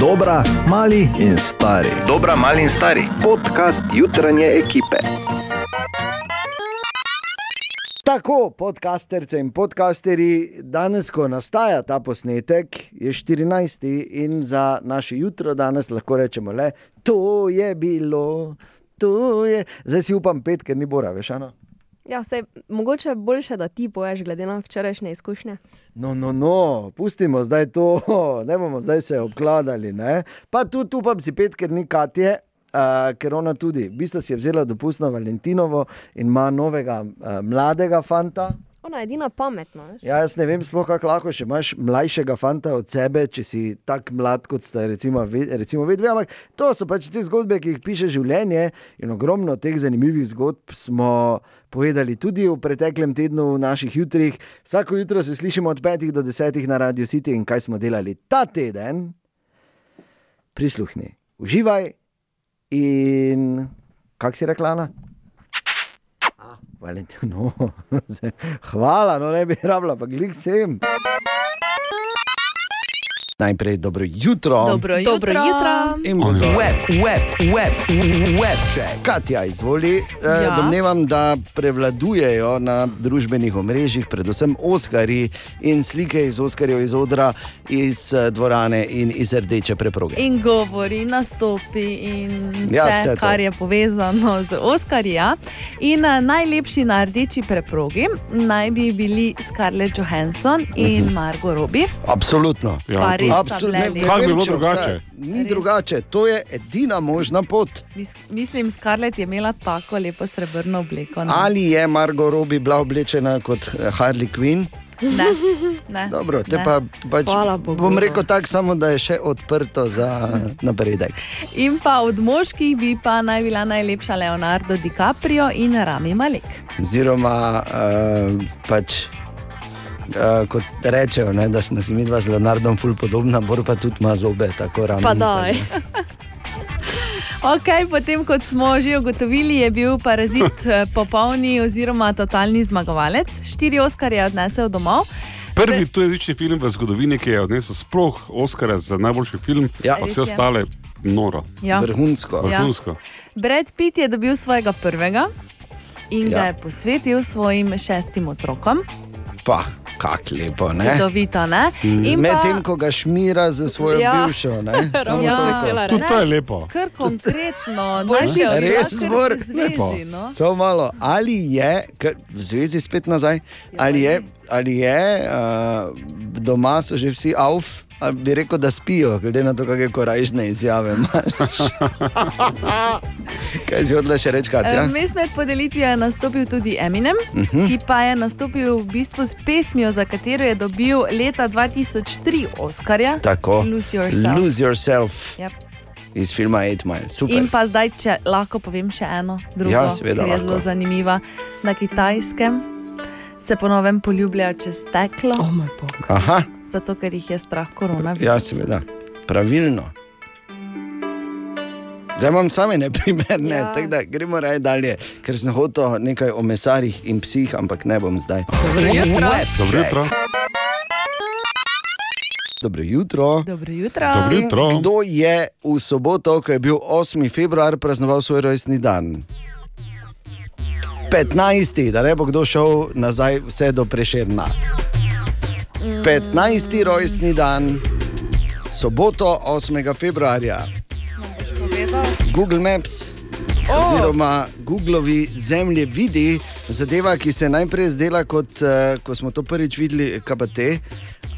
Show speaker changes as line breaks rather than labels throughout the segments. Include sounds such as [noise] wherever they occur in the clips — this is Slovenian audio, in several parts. Dobra, mali in stari.
Dobra, mali in stari.
Podcast jutranje ekipe.
Tako, podcasterce in podcasterji, danes, ko nastaja ta posnetek, je 14. in za naše jutro danes lahko rečemo le, to je bilo, to je. Zdaj si upam pet, ker ni bora, veš, ano.
Ja, sej, mogoče je boljše, da ti poješ, glede na včerajšnje izkušnje.
No, no, no, pustimo zdaj to, [laughs] ne bomo zdaj se obkladali. Ne? Pa tudi upam si pet, ker ni Katje, uh, ker ona tudi, v bistvu si je vzela dopust na Valentinovo in ima novega uh, mladega fanta.
Ona je edina pametna. veš.
Ja, jaz ne vem, sploh kako lahko še imaš mlajšega fanta od sebe, če si tako mlad kot sta recimo, ve- recimo vedve. Ampak to so pač te zgodbe, ki jih piše življenje in ogromno teh zanimivih zgodb smo povedali tudi v preteklem tednu v naših jutrih. Vsako jutro se slišimo od 5 do 10 na Radio City in kaj smo delali ta teden. Prisluhni, uživaj in kak si rekla? Ana? Valentin,
[laughs]
no, zdaj, hvala, no ne bi rabila, pa glik sem.
Najprej dobro jutro.
Dobro jutro.
In pozor. Web, web, web, web check. Katja, izvoli. Ja. E,
Ja.
domnevam, da prevladujejo na družbenih omrežjih, predvsem Oskari in slike iz Oskarjev iz odra, iz eh, dvorane in iz rdeče preproge.
Ja. In govori, nastopi in vse,
Ja,
ja,
vse
vse
to.
kar je povezano z Oskarjem. In eh, najlepši na rdeči preprogi naj bi bili Scarlett Johansson in Margot Robbie.
Absolutno.
Ja,
Pa
to-
Mhm.
res.
Absolutno.
Sta bile lepe.
Kako
vem,
bi bilo
če
drugače?
obstaja. Ni
Res.
drugače, to je edina možna pot.
Mis- Mislim, Scarlett je imela tako lepo srebrno obleko. ne?
Ali je Margo Robi bila oblečena kot eh, Harley Quinn?
Ne, ne.
[laughs] Dobro, te
Ne.
pa, pač,
Hvala Bogu,
bom
no.
rekel tako, samo da je še odprto za napredek.
In pa od moških bi pa naj bila najlepša Leonardo DiCaprio in Rami Malek.
Oziroma, uh, pač, uh, kot rečejo, ne, da smo si mi dva z Leonardom ful podobna, bor pa tudi ima zobe, tako ravno.
Pa daj.
[laughs] Okay, potem, kot smo že ugotovili, je bil parazit eh, popolni oziroma totalni zmagovalec. Štiri Oskarje je odnesel domov.
Prvi tujezični film v zgodovini, ki je odnesel sploh Oscara za najboljši film,
Ja.
pa
Res
vse
je.
ostale noro.
Ja.
Vrhunsko. [laughs]
Ja.
Vrhunsko.
Brad Pitt je dobil svojega prvega in ja. ga
Ja.
je posvetil svojim šestim otrokom.
Pa, kak lepo, ne?
Čudovito, ne? In pa-
Medtem, ko ga šmira za svojo ja.
Ja.
bivšo, [laughs]
[laughs]
ne? Samo
Ja.
toliko.
Tudi to je lepo.
Kar konkretno,
Boljše
najprej
od
bila
Res
kar
mor,
v zvezi. No?
Samo malo, ali je, ker v zvezi spet nazaj, ali je, ali je uh, doma so že vsi avf, ali bi rekel, da spijo, glede na to, kakšne korajžne izjave imaš.
[laughs]
Kaj si odla še reči, Katja? Mhm.
Mes med podelitvijo je nastopil tudi Eminem, uh -huh. ki pa je nastopil v bistvu s pesmijo, za katero je dobil leta 2003 Oscarja.
Tako.
Lose Yourself.
Lose yourself
Yep.
iz filma Eight Mile. Super.
In pa zdaj, če lahko povem še eno, drugo,
Ja, seveda
ki je
lahko.
zelo zanimiva. Na kitajskem se ponovem poljubljajo čez steklo, oh.
moj bog.
Aha,
zato ker jih je strah koronavirusa.
ja, seveda. Pravilno. Zdaj imam same neprimerne, ja.
Ja.
tako da gremo raje dalje, ker sem hotel nekaj o mesarjih in psih, ampak ne bom zdaj.
Dobro jutro.
Dobro jutro.
Dobro jutro.
Dobro
In
jutro.
Kdo je v soboto, ko je bil 8. februar, praznoval svoj rojstni dan? 15. da ne bo kdo šel nazaj vse do preširna. 15. rojstni dan, soboto 8. februarja. Google Maps. Oziroma, Googlovi zemlje vidi zadeva, ki se najprej zdela kot, eh, ko smo to prvič videli, KBT,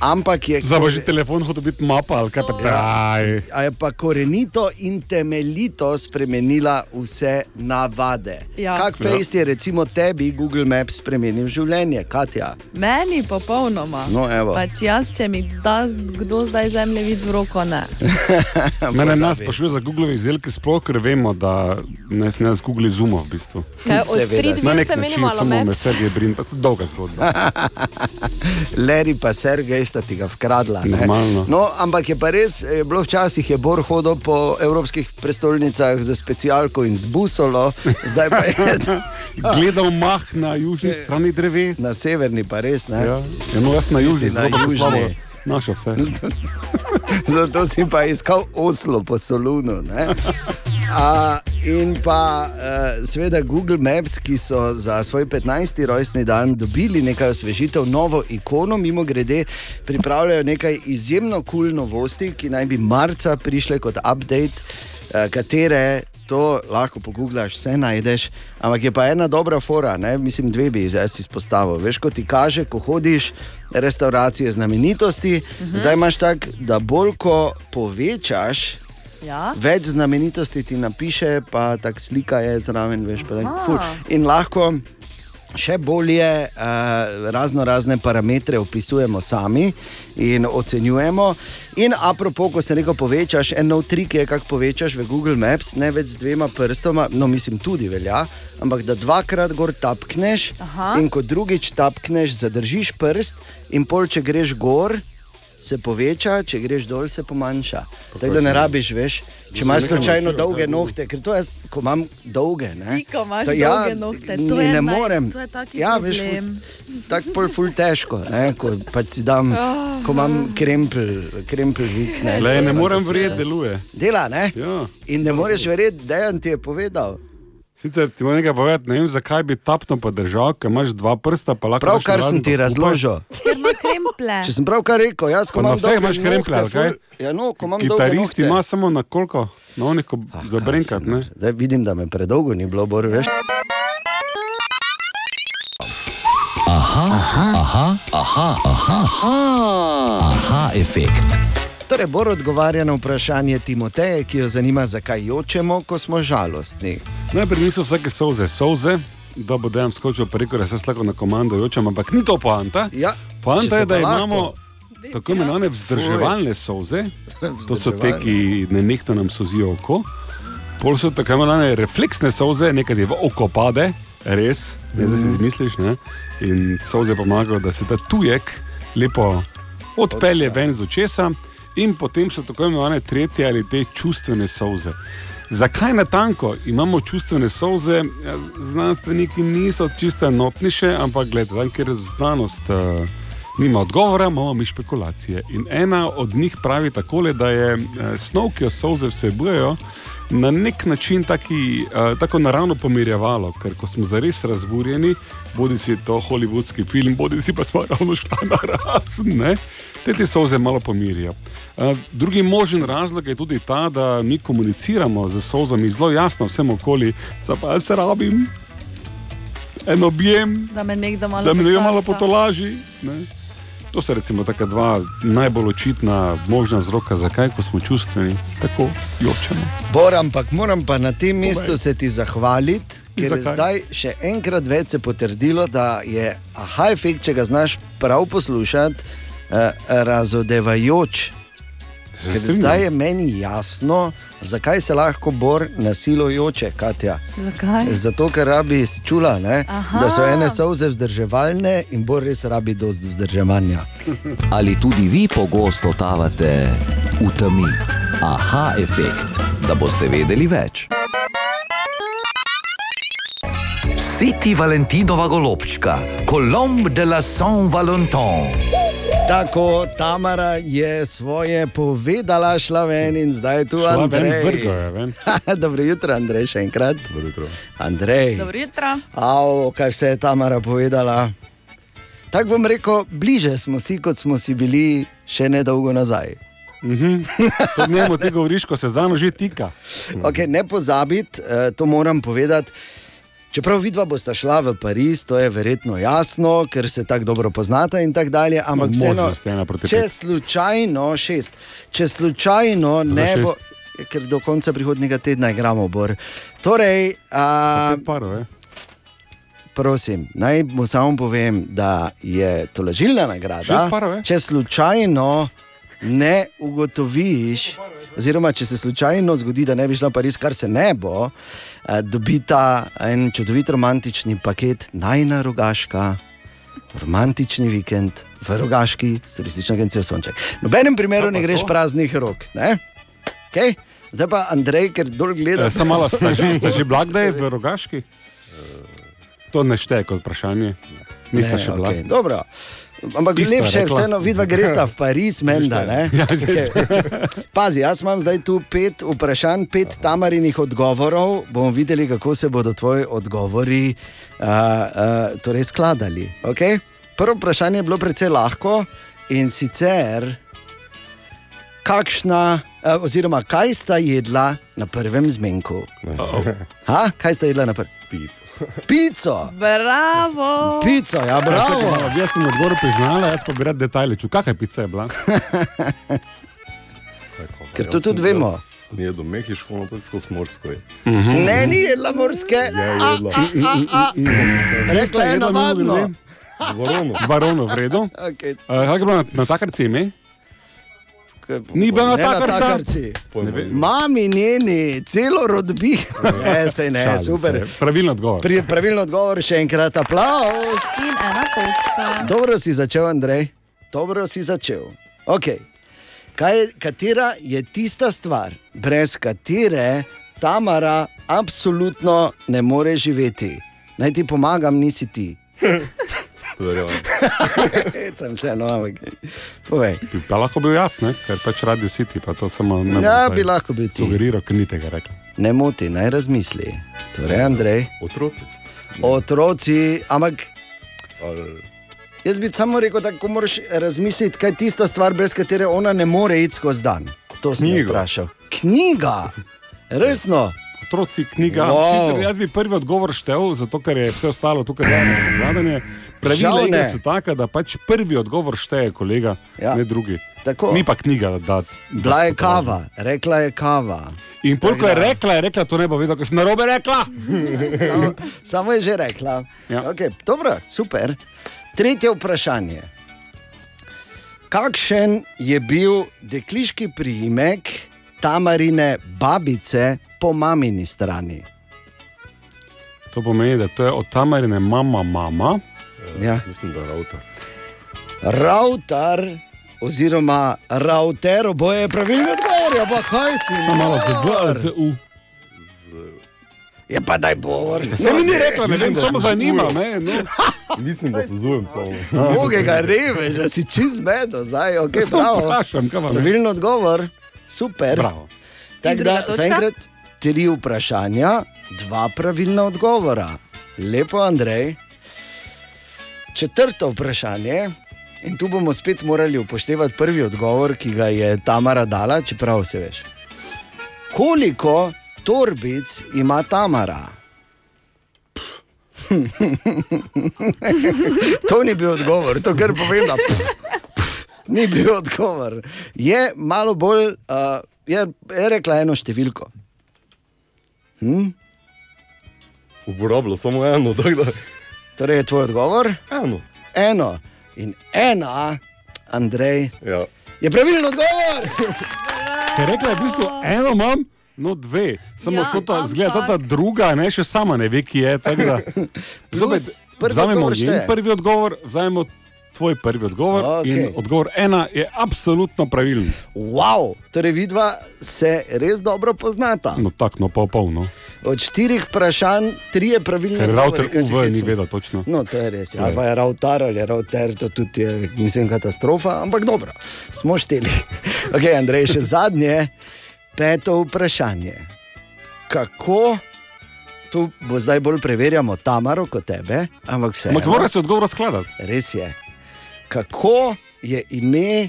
ampak je Ja.
Zdaj pa že telefon hoče biti mapa ali kaj pa daj.
a je pa korenito in temeljito spremenila vse navade.
Ja.
Kak fejst je recimo tebi Google Maps spremenil življenje, Katja?
Meni popolnoma.
No, evo.
Pač jaz, če mi da kdo zdaj zemlje vidi v roko, ne.
Mene
Pozabi.
nas sprašuje za Google izdelke, sploh ker vemo, da nas ne z Google izuma v bistvu.
Kaj, od
Seveda.
Street
Na
View
nek
ste
način
minimalno
samo me
med.
sebi je brin, pa tudi dolga zgodba.
[laughs] Leri pa Sergej sta ti ga ukradla. ne.
Normalno.
No, ampak je pa res, je bilo včasih je Bor hodil po evropskih prestolnicah za specialko in z busolo, zdaj pa je
[laughs] Gledal mah na južni strani dreves.
na severni, pa res ne.
Ja, eno jaz na
Ti si
južni,
na
zelo pa sem
južni.
slabo. Našel vse.
[laughs] zato si pa iskal Oslo po Solunu. ne. A, in pa eh, seveda Google Maps, ki so za svoj 15. rojstni dan dobili nekaj osvežitev, novo ikono, mimo grede, pripravljajo nekaj izjemno kul cool novosti, ki naj bi marca prišle kot update, eh, katere to lahko pogooglaš, vse najdeš. Ampak je pa ena dobra fora, ne? mislim, dve bi zdaj izpostavil. Veš, kot ti kaže, ko hodiš, restauracije znamenitosti, mhm. zdaj imaš tako, da bolj ko povečaš.
Ja.
Več znamenitosti ti napiše, pa tako slika je zraven, veš, pa tako ful. In lahko še bolje uh, razno razne parametre opisujemo sami in ocenjujemo. In apropo, ko se nekaj povečaš, en nov trik je, kako povečaš v Google Maps, ne več z dvema prstoma, no mislim tudi velja, ampak da dvakrat gor tapkneš
Aha.
in ko drugič tapkneš, zadržiš prst in pol, če greš gor. Se poveča, če greš dol, se pomanjša. Tako da ne rabiš več, če imaš slučajno dolge nohte, ker to jaz, ko imam dolge. Ne,
Ti, ko imaš
To- ja,
dolge nohte, to
ni-
je
ne
naj-
morem.
to je taki
ja, veš,
problem.
ful- tako pol ful težko, ne, ko pač si dam,
Ah.
ko imam krempel, krempel vikne.
Le, ne morem verjeti, deluje.
Dela, ne?
Ja.
In ne moreš verjeti, da je on ti je povedal.
Sicer ti moram nekaj povedati, ne vem, zakaj bi tapno pa držal, ker imaš dva prsta, pa lahko.
Prav,
daš
kar
narazen
sem ti
pa skupaj.
razložil.
Ker ima kremple.
Če sem prav kar rekel, jaz ko
Pa na
imam
vseh imaš
dolge
kremplje,
nohte,
ali kaj?
ful- Ja, no, ko imam dolge
Kitarist
nohte.
ima samo na koliko, na oniko za brenkat, ne?
Zdaj vidim, da me predolgo ni bilo, bor, veš.
Aha, efekt.
Torej, Bor odgovarja na vprašanje Timoteja, ki jo zanima, zakaj jočemo, ko smo žalostni.
Najprej niso vsake solze, solze, da bo dejem skočil preko, da se slako na komando jočem, ampak ni to poanta.
Ja, če
poanta
se
je, da
pa lahko.
imamo tako imenovane vzdrževalne solze, to so te, ki nenehno nam sozijo oko. Pol so tako imenovane refleksne solze, nekaj je v oko pade, res, ne zdaj si
Mm.
izmisliš. Ne? In solze pomagajo, da se ta tujek lepo odpelje ven z očesa, in potem so tako imenovane tretje ali te čustvene solze. Zakaj na tanko imamo čustvene solze? Ja, Znanstveniki niso čisto enotni še, ampak gledaj, tam, kjer znanost uh, nima odgovora, imamo mi špekulacije. In ena od njih pravi takole, da je uh, snov, ki jo solze vsebujejo, na nek način taki, uh, tako naravno pomirjevalo, ker ko smo zares razburjeni, bodi si to holivudski film, bodi si pa smo ravno šla na razen, ne? te te soze malo pomirijo. Uh, drugi možen razlog je tudi ta, da mi komuniciramo z sozami zelo jasno vsem okoli, zapaj se rabim, en objem,
Da me nekdo malo
da me nekdo malo
pocarta.
potolaži. Ne? To so recimo taka dva najbolj očitna možna vzroka, zakaj, ko smo čustveni, tako jočemo.
Bor, ampak moram pa na tem mestu se ti zahvaliti, ker je
Zakaj?
zdaj še enkrat več se potrdilo, da je aha efekt, če ga znaš prav poslušati, eh, razodevajoč.
Se
Ker
strinjam.
zdaj je meni jasno, zakaj se lahko Bor nasilo joče, Katja.
Zakaj?
[laughs]
Zato, ker rabi s- čula, ne,
Aha.
da so ene soze vzdrževalne in Bor res rabi dosti vzdrževanja.
Ali tudi vi pogosto totavate v temi? Aha, efekt, da boste vedeli več. Siti Valentinova golobčka, Colombe de la Saint-Valentin.
Tako, Tamara je svoje povedala, šla ven in zdaj je tu
Šla ven,
Andrej.
vrgel je ven.
[laughs] Dobro jutro, Andrej, še enkrat. Andrej,
Dobro jutro.
Au, kaj vse je Tamara povedala. Tako bom rekel, bliže smo si, kot smo si bili še nedolgo nazaj.
Mhm. To njemu ti govoriš, ko se zame že tika.
Okay, ne pozabiti, eh, to moram povedati. Čeprav vidva bosta šla v Pariz, to je verjetno jasno, ker se tako dobro poznata in tako dalje, ampak
No,
vseeno,
možnost je ena proti
če
pet.
slučajno, šest, če slučajno
Zato
ne bo, ker do konca prihodnega tedna igramo bor. Torej, a,
Paro, je.
prosim, naj mu samo povem, da je to lažilna nagrada.
Šest parov, eh?
če slučajno ne ugotoviš, oziroma če se slučajno zgodi, da ne bi šla pa res, kar se ne bo, eh, dobita en čudovit romantični paket, najna rogaška. Romantični vikend v Rogaški s turistično agencijo Sonček. V nobenem primeru ne greš praznih rok. ne? Okay? Zdaj pa Andrej, ker dol
E,
gledaš.
Samo malo ste že, ste že blag, da je v rogaški. To ne šteje kot vprašanje. Nista še bila.
okej, dobro. Ampak
Isto
Isto
je
lepše je
rekla.
vseeno, vidva gresta v Pariz, menda. ne?
[laughs] Ja, že-
Okej. Pazi, jaz imam zdaj tu pet vprašanj, pet tamarinih odgovorov. Bomo videli, kako se bodo tvoji odgovori uh, uh, torej skladali. Okay? Prvo vprašanje je bilo precej lahko in sicer, kakšna, uh, oziroma kaj sta jedla na prvem zmenku? Ha? Kaj sta jedla na prvem? Pico. Pico,
Bravo!
pico, ja, bravo.
Eh, Čakaj, Jaz sem odgovor priznala, jaz pa bi rad detajle čutil, kakšna pica je bila.
Tako,
Ker
jaz
to tudi
sem-
vemo.
jaz Ne do Mehiško, ampak skozi morsko. je.
Mhm.
Mhm.
Ne, ni jedla morske.
Ja, jedla.
Mm,
Rekla je
Jedla, mimo
navadno.
grede.
Vorono.
Baronov vredo.
Okay,
Kaj Eh, je bilo na, na takarci ime?
k-
Ni bila na
ne na
takarci.
takarci.
Pojma nimam.
Mami njeni, celo rodbi. [laughs] Ne, sej ne,
Šalim
super.
se, Pravilno odgovor.
Pri, pravilno odgovor, še enkrat aplaus.
In ena točka.
Dobro si začel, Andrej. Dobro si začel. Okay. Kaj, je- katera je tista stvar, brez katere Tamara absolutno ne more živeti? Naj ti pomagam, nisi ti. [laughs]
Verjamem.
Hecam se, no, ampak povej.
Bi pa lahko bil jaz, ne? ker pač radio City, pa to samo ne. bom
Ja,
zdaj
bi lahko bil ti.
Sugeriral, ker ni tega Ja. rekel.
Ne moti, naj razmisli. Torej, Andrej,
Otroci.
otroci, ampak
Ali
jaz bi samo rekel, da ko moraš razmisliti, kaj je tista stvar, brez katere ona ne more iti skozi dan. To sem jih
Knjigo.
vprašal. Knjiga, resno.
Otroci, knjiga.
Wow.
Sicer ja- jaz bi prvi odgovor štel, zato ker je vse ostalo tukaj dano vladanje. Pravila
Žal
igre
ne.
so taka, da pač prvi odgovor šteje, kolega,
Ja.
ja. ne drugi.
Tako.
Ni pa knjiga, da. da
Bila je
se popravi.
kava, Ja. rekla je kava.
In polk je rekla, je rekla, to ne bo vedela, ker sem narobe rekla.
[laughs] Samo, samo je že rekla.
Ja.
Okay, dobro, super. Tretje vprašanje. Kakšen je bil dekliški priimek tamarine babice po mamini strani?
To pomeni, da to je od tamarine mama, mama.
Ja.
Mislim, da avto.
Ravtar, oziroma ravter, oboje je pravilno odgovor, ja, pa kaj si.
Samo malo z B,
nor?
z U.
Je Ja, pa daj bor.
Se mi ni rekla, ne vem, samo zanima. Ne, no.
Mislim, da se zujem samo.
Bogega revež, da si čist medo, zdaj, ok,
Samo
bravo.
vprašam, kaj vam je.
Pravilno odgovor, super.
Bravo.
Tako
druga
da
točka?
zaenkrat tri vprašanja, dva pravilna odgovora. Lepo, Andrej. Četrto vprašanje. In tu bomo spet morali upoštevati prvi odgovor, ki ga je Tamara dala, čeprav se veš. Koliko torbic ima
[laughs]
Tamara? to ni bil odgovor, to kar povem. da
[laughs]
pf, pf, Ni bil odgovor. Je malo bolj, uh, je, je rekla eno številko. Hm?
Uporabljal samo eno, tako da.
Torej je tvoj odgovor
Eno.
eno in ena, Andrej.
Ja.
Je pravilen odgovor!
Ker rekla je v bistvu eno imam, no dve. Samo
Ja,
ja, tota,
ampak-
zgleda, ta, ta druga, ne, še sama ne ve, ki je. tako da- Zopet,
[laughs] Plus, prvi
Vzamemo
odgovor
njen
šteje.
prvi odgovor, vzamemo tvoj prvi odgovor
Okej.
okay. in odgovor ena je absolutno pravilen.
Wow, torej vidva se res dobro poznata.
No, tako, no, pa polno.
Od štirih vprašanj, tri je pravilno.
Ker router UV ni vedel točno.
torej, No, to je res. ja.
Torej.
Ali pa je router ali je router, to tudi je, mislim, katastrofa, ampak dobro, smo šteli. [laughs] Ok, Andrej, še zadnje, peto vprašanje. Kako, tu bo zdaj bolj preverjamo Tamaro kot tebe, ampak vse.
Ampak mora se odgovor skladati.
Res je. Kako je ime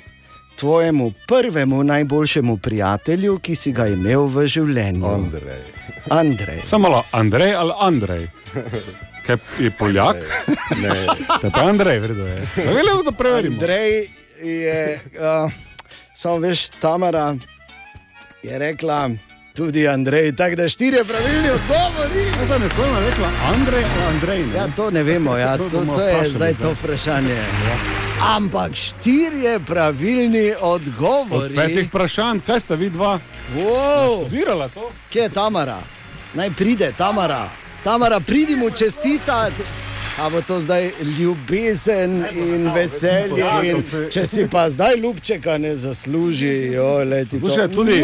tvojemu prvemu najboljšemu prijatelju, ki si ga imel v življenju?
Andrej.
Andrej.
Samo malo, Andrej ali Andrej. Kaj je Poljak? [laughs]
Ne,
To je pa Andrej, vredno je. [laughs] Ne vem, da preverimo.
Andrej je, uh, samo veš, Tamara je rekla, tudi Andrej, tako da štirje pravilni odgovori.
Jaz sem neslovno rekla Andrej ali Andrej. Ne?
Ja, to ne vemo, ja, to,
[laughs] To
to,
bomo
to je
vprašali
zdaj
zdaj. Ja.
to vprašanje. Ampak štirje pravilni
Od petih
odgovori.
vprašanj, kaj sta vi dva?
Wow.
Dirala to?
Kje je Tamara? Naj pride, Tamara. Tamara, pridi mu čestitati. A bo to zdaj ljubezen in veselje. In če si pa zdaj ljubčeka ne zasluži, jole ti to.
Poslušaj, tudi-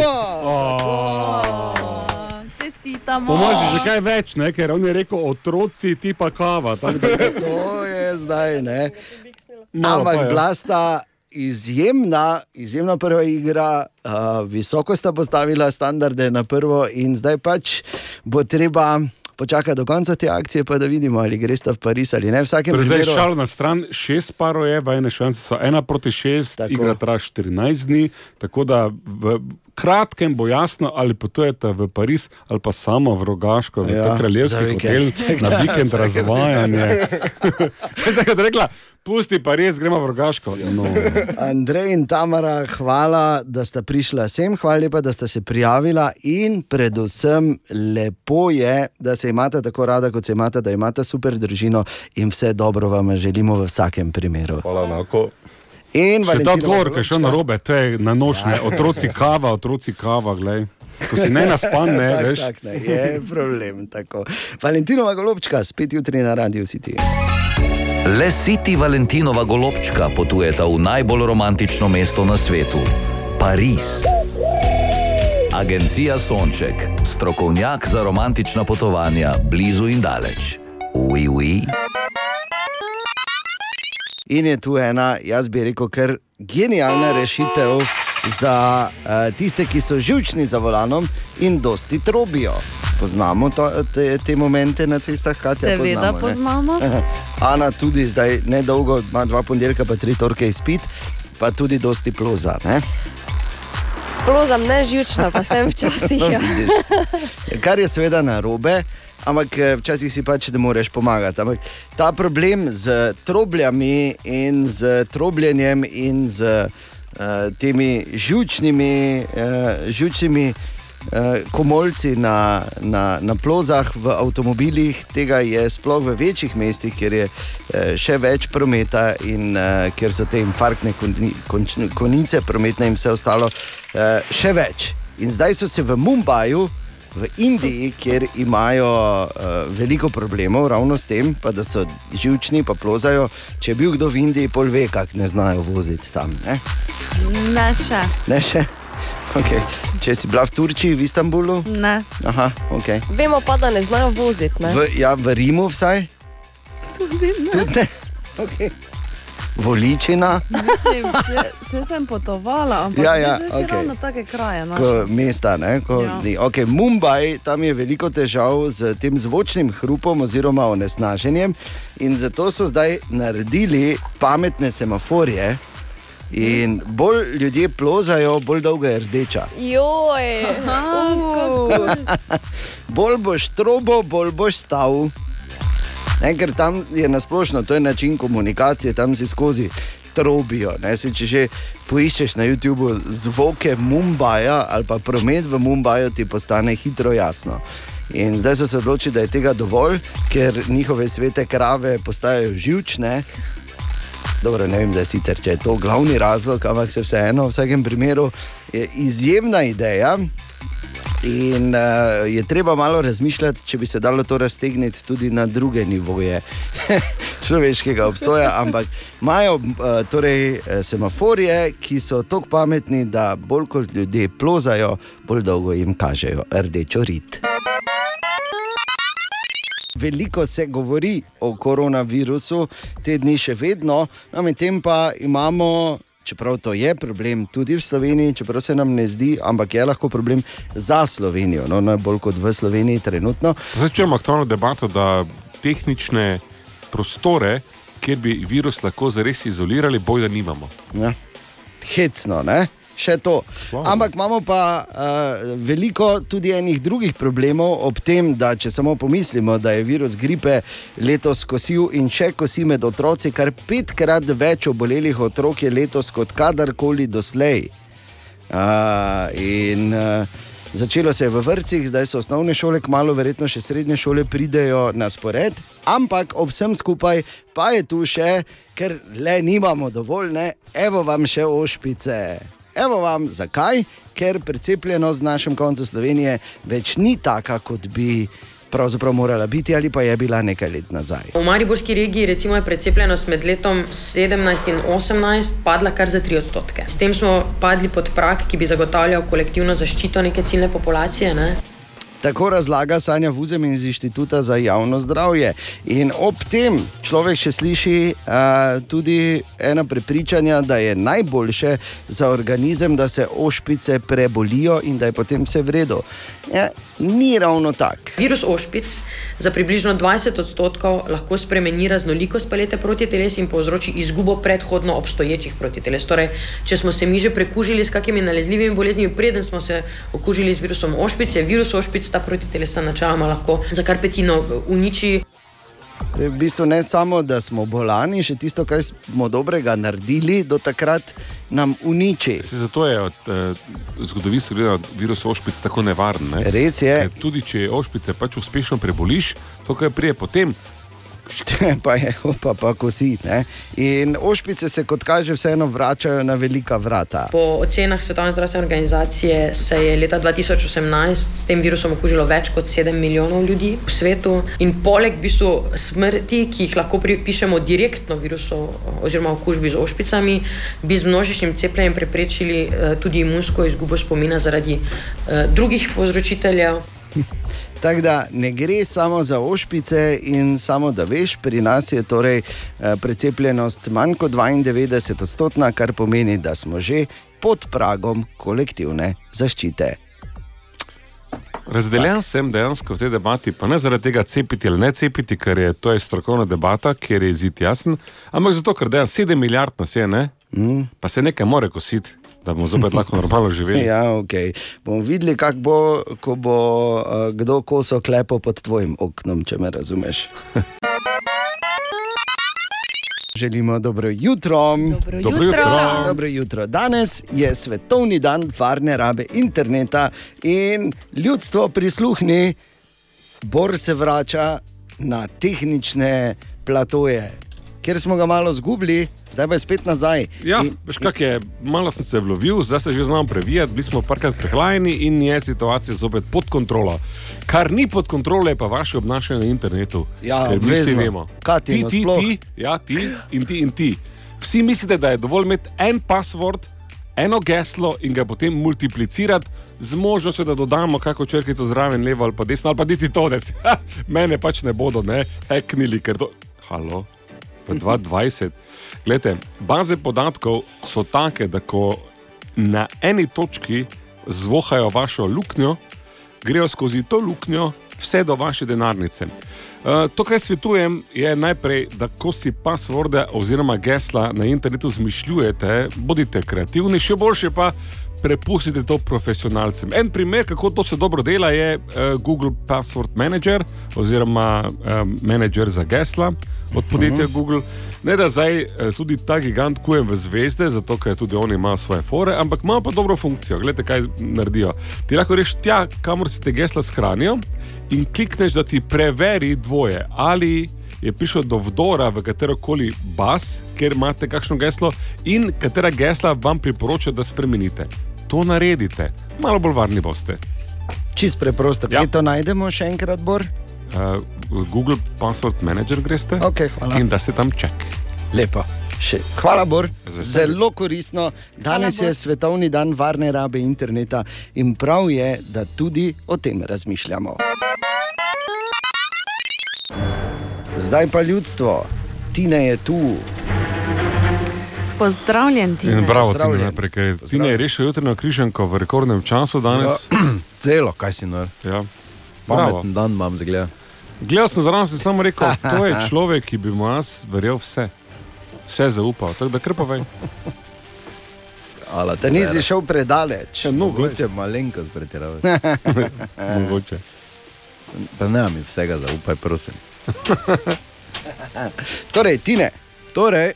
Čestitamo.
Ja,
Po mojem si že kaj več, ne? ker on je rekel otroci, ti pa kava. tako da-
To je zdaj. Ne?
Malo No, pa ja.
Ampak
je.
bila sta izjemna, izjemna prva igra, uh, visoko sta postavila standarde na prvo, in zdaj pač bo treba. Počakaj do konca te akcije, pa da vidimo, ali greš v Pariz ali ne. V vsakem
Torej, zdaj
primeru,
šal na stran, šest parov je, vajne šanse so ena proti šest,
Tako.
tako. igra traja 14 dni, tako da v kratkem bo jasno, ali potujete v Pariz ali pa samo v Rogaško, v
Ja,
ja, ta
za
kraljevski hotel,
vikend. Tako da,
na vikend
vsak-
razvajanje. [laughs] Zdaj, kot rekla, pusti Pariz, gremo v Rogaško. No.
[laughs] Andrej in Tamara, hvala, da sta prišla sem, hvala lepa, da sta se prijavila in predvsem lepo je, da se imate tako rada, kot se imate, da imate super družino in vse dobro vam želimo v vsakem primeru.
Hvala, enako.
In
Še ta
Valentinova
odgovor, ki je šel na robe, to je na
Ja,
nočne, otroci kava, otroci kava, gledaj. Ko si ne naspan, ne,
[laughs] tak,
veš.
Tak, ne, je problem tako. Valentinova golobčka, spet jutri na radiju si ti.
Le Siti Valentinova golobčka potujeta v najbolj romantično mesto na svetu - Pariz. Agencija Sonček, strokovnjak za romantična potovanja blizu in daleč. Ui, ui.
In je tu ena, jaz bi rekel, kar genialna rešitev za uh, tiste, ki so živčni za volanom in dosti trobijo. Poznamo to, te, te momente na cestah, kaj te
Seveda
poznamo. ne?
poznamo.
[laughs] Ana tudi zdaj nedolgo, ima dva ponedeljka, pa tri torke izpit, pa tudi dosti ploza. Ne?
Plozam neživčna, pa sem včasih.
No,
Ja.
[laughs] vidiš. Kar je seveda na robe, ampak eh, včasih si pač ne moreš pomagati. Ampak ta problem z trobljami in z trobljenjem in z uh, temi žučnimi, uh, žučnimi uh, komolci na, na, na plozah v avtomobilih, tega je sploh v večjih mestih, kjer je eh, še več prometa in eh, kjer so te infarktne koni- končne- konice, prometne in vse ostalo, eh, še več. In zdaj so se v Mumbaju, v Indiji, kjer imajo eh, veliko problemov ravno s tem, pa da so živčni, pa plozajo. Če je bil kdo v Indiji, pol ve, kak ne znajo voziti tam. Ne,
Ne še,
ne še. [laughs] Okay. Če si bila v Turčiji, v Istanbulu,
ne.
aha, okay.
Vemo pa, da ne znajo voziti. Ne?
v, ja, v Rimu vsaj. Tudi ne. Okay. Voličina,
Mislim, se, se sem potovala, ampak
Ja,
ja,
ja,
ja, zdaj si
okej.
okay. ravno take kraje našla.
ko, mesta, ne, ko,
no. Ja.
ja. okay, Mumbai, tam je veliko težav z tem zvočnim hrupom oziroma onesnaženjem, in zato so zdaj naredili pametne semaforje. In bolj ljudje plozajo, bolj dolga je rdeča.
Joj,
[laughs] bolj boš trobo, bolj boš stav. Ne, ker tam je nasplošno, to je način komunikacije, tam si skozi trobijo. Ne, se, če že poiščeš na YouTubu zvoke Mumbaja ali pa promet v Mumbaju, ti postane hitro jasno. In zdaj so se odločili, da je tega dovolj, ker njihove svete krave postajajo živčne. Dobro, ne vem, zdaj sicer, če je to glavni razlog, ampak se vseeno, v vsakem primeru je izjemna ideja. In uh, je treba malo razmišljati, če bi se dalo to raztegniti tudi na druge nivoje [laughs] človeškega obstoja. Ampak imajo uh, torej, eh, semaforje, ki so tako pametni, da bolj kot ljudje plozajo, bolj dolgo jim kažejo rdečo rit. Veliko se govori o koronavirusu, te dni še vedno, no, medtem pa imamo, čeprav to je problem tudi v Sloveniji, čeprav se nam ne zdi, ampak je lahko problem za Slovenijo, no, najbolj kot v Sloveniji trenutno.
Zdaj čujemo aktualno debato, da tehnične prostore, kjer bi virus lahko zares izolirali, boj da nimamo.
Ja. Hecno, ne? še to. Ampak imamo pa uh, veliko tudi enih drugih problemov, ob tem, da če samo pomislimo, da je virus gripe letos kosil in še kosi med otroci, kar petkrat več obolelih otrok je letos kot kadarkoli doslej. Uh, in uh, začelo se je v vrtcih, zdaj so osnovne šole, kmalo verjetno še srednje šole pridejo na spored, ampak ob vsem skupaj pa je tu še, ker le nimamo dovolj, ne? evo vam še ošpice. Evo vam zakaj, ker precepljenost v našem koncu Slovenije več ni taka, kot bi pravzaprav morala biti ali pa je bila nekaj let nazaj.
V Mariborski regiji recimo, je precepljenost med letom 17 in 18 padla kar za 3 odstotke. S tem smo padli pod prak, ki bi zagotavljal kolektivno zaščito neke ciljne populacije. Ne?
Tako razlaga Sanja Vuzem iz Inštituta za javno zdravje. In ob tem človek še sliši a, tudi ena prepričanja, da je najboljše za organizem, da se ošpice prebolijo in da je potem vse v redu. Ja, ni ravno tako.
Virus ošpic za približno 20 odstotkov lahko spremeni raznolikost palete protiteles in povzroči izgubo predhodno obstoječih protiteles. Torej, če smo se mi že prekužili s kakimi nalezljivimi boleznimi, preden smo se okužili z virusom ošpic, je virus ošpic ta protitelesa načeloma lahko za kar petino uniči.
V bistvu ne samo, da smo bolani, še tisto, kar smo dobrega naredili, do takrat nam uniči. [laughs]
Se zato je od, eh, zgodovinsko gledano virus ošpic tako nevaren. Ne?
Res je.
Ker tudi če ošpice pač uspešno preboliš, to, kar prije potem,
pa je opa, pa kosi. Ne? In ošpice se, kot kaže, vseeno vračajo na velika vrata.
Po ocenah Svetovne zdravstvene organizacije se je leta 2018 s tem virusom okužilo več kot 7 milijonov ljudi v svetu. In poleg v bistvu smrti, ki jih lahko pripišemo direktno virusu oziroma okužbi z ošpicami, bi z množičnim cepljenjem preprečili eh, tudi imunsko izgubo spomina zaradi eh, drugih povzročiteljev.
Tako da ne gre samo za ošpice in samo da veš, pri nas je torej eh, precepljenost manj kot 92 odstotna, kar pomeni, da smo že pod pragom kolektivne zaščite.
razdeljen tak. sem dejansko v tej debati, pa ne zaradi tega cepiti ali ne cepiti, ker je to je strokovna debata, kjer je izid jasen, ampak zato, ker dejansko 7 milijard nas je, ne? Mm. pa se nekaj more kositi, da bomo zopet lahko normalno živeli.
Ja, okay. Bomo videli, kako bo, ko bo eh, kdo koso klepo pod tvojim oknom, če me razumeš. [laughs] Želimo dobro jutro.
Dobro
Dobro jutro.
Dobro jutro. Danes je svetovni dan varne rabe interneta in ljudstvo prisluhni, Bor se vrača na tehnične platoje, kjer smo ga malo izgubili, zdaj pa je spet nazaj.
Ja,
In-
veš kak je, malo sem se vlovil, zdaj se že znam previjati, bili smo parkrat prehlajeni in je situacija zopet pod kontrolo. Kar ni pod kontrolo, je pa vaše obnašanje na internetu.
Ja,
Ker mi vsi
obvezno.
vemo.
Katino
ti, ti,
sploh.
ti, ja, ti in ti in ti. Vsi mislite, da je dovolj imeti en password, eno geslo in ga potem multiplicirati z možnostjo, da dodamo kakšno črkico zraven, levo ali pa desno, ali pa niti to ne. [laughs] Mene pač ne bodo, ne, heknili, ker to. Halo v 2020. Glede, baze podatkov so take, da ko na eni točki zvohajo vašo luknjo, grejo skozi to luknjo vse do vaše denarnice. Eh, To, kar svetujem, je najprej, da ko si pasvorde oziroma gesla na internetu zmišljujete, bodite kreativni, še boljše pa. Prepustite to profesionalcem. En primer, kako to se dobro dela, je uh, Google Password Manager oziroma uh, Manager za gesla od podjetja uh -huh. Google. Ne da zdaj eh, tudi ta gigant kujem v zvezde, zato ker tudi oni imajo svoje fore, ampak ima pa dobro funkcijo. Glede, kaj naredijo. Ti lahko reš tja, kamor se te gesla shranijo in klikneš, da ti preveri dvoje. Ali je prišel do vdora v katero koli baz, kjer imate kakšno geslo in katera gesla vam priporoča, da spremenite. To naredite, malo bolj varni boste.
Čist preprosto, ja.
Ja.
kje to najdemo še enkrat, Bor?
Uh, Google Password Manager greste
Okay, hvala.
in da se tam čekate.
Lepo. Še, hvala, Bor.
Z veseljem.
Zelo
[laughs]
koristno. [laughs] Danes je svetovni dan varne rabe interneta in prav je, da tudi o tem razmišljamo. Zdaj pa ljudstvo, Tine je tu.
Pozdravljen ti.
In bravo, Tine,
Pozdravljen.
najprej, ker je Tine je rešil jutro na križanko v rekordnem času danes.
Ja. [clears throat]
Celo, kaj si nor.
Ja. Bravo.
Pameten dan imam, zgleda.
Gledal sem zraven, sem samo
[laughs]
rekel, to je človek, ki bi mu jaz verjel vse. Vse zaupal, tako da krpavej.
Ala
Da
te
nisi šel predaleč.
Še mnogo,
Mogoče malenkost pretiravati.
mogoče.
Pa ne mi vsega zaupaj, prosim.
[laughs] Torej, Tine,
Torej,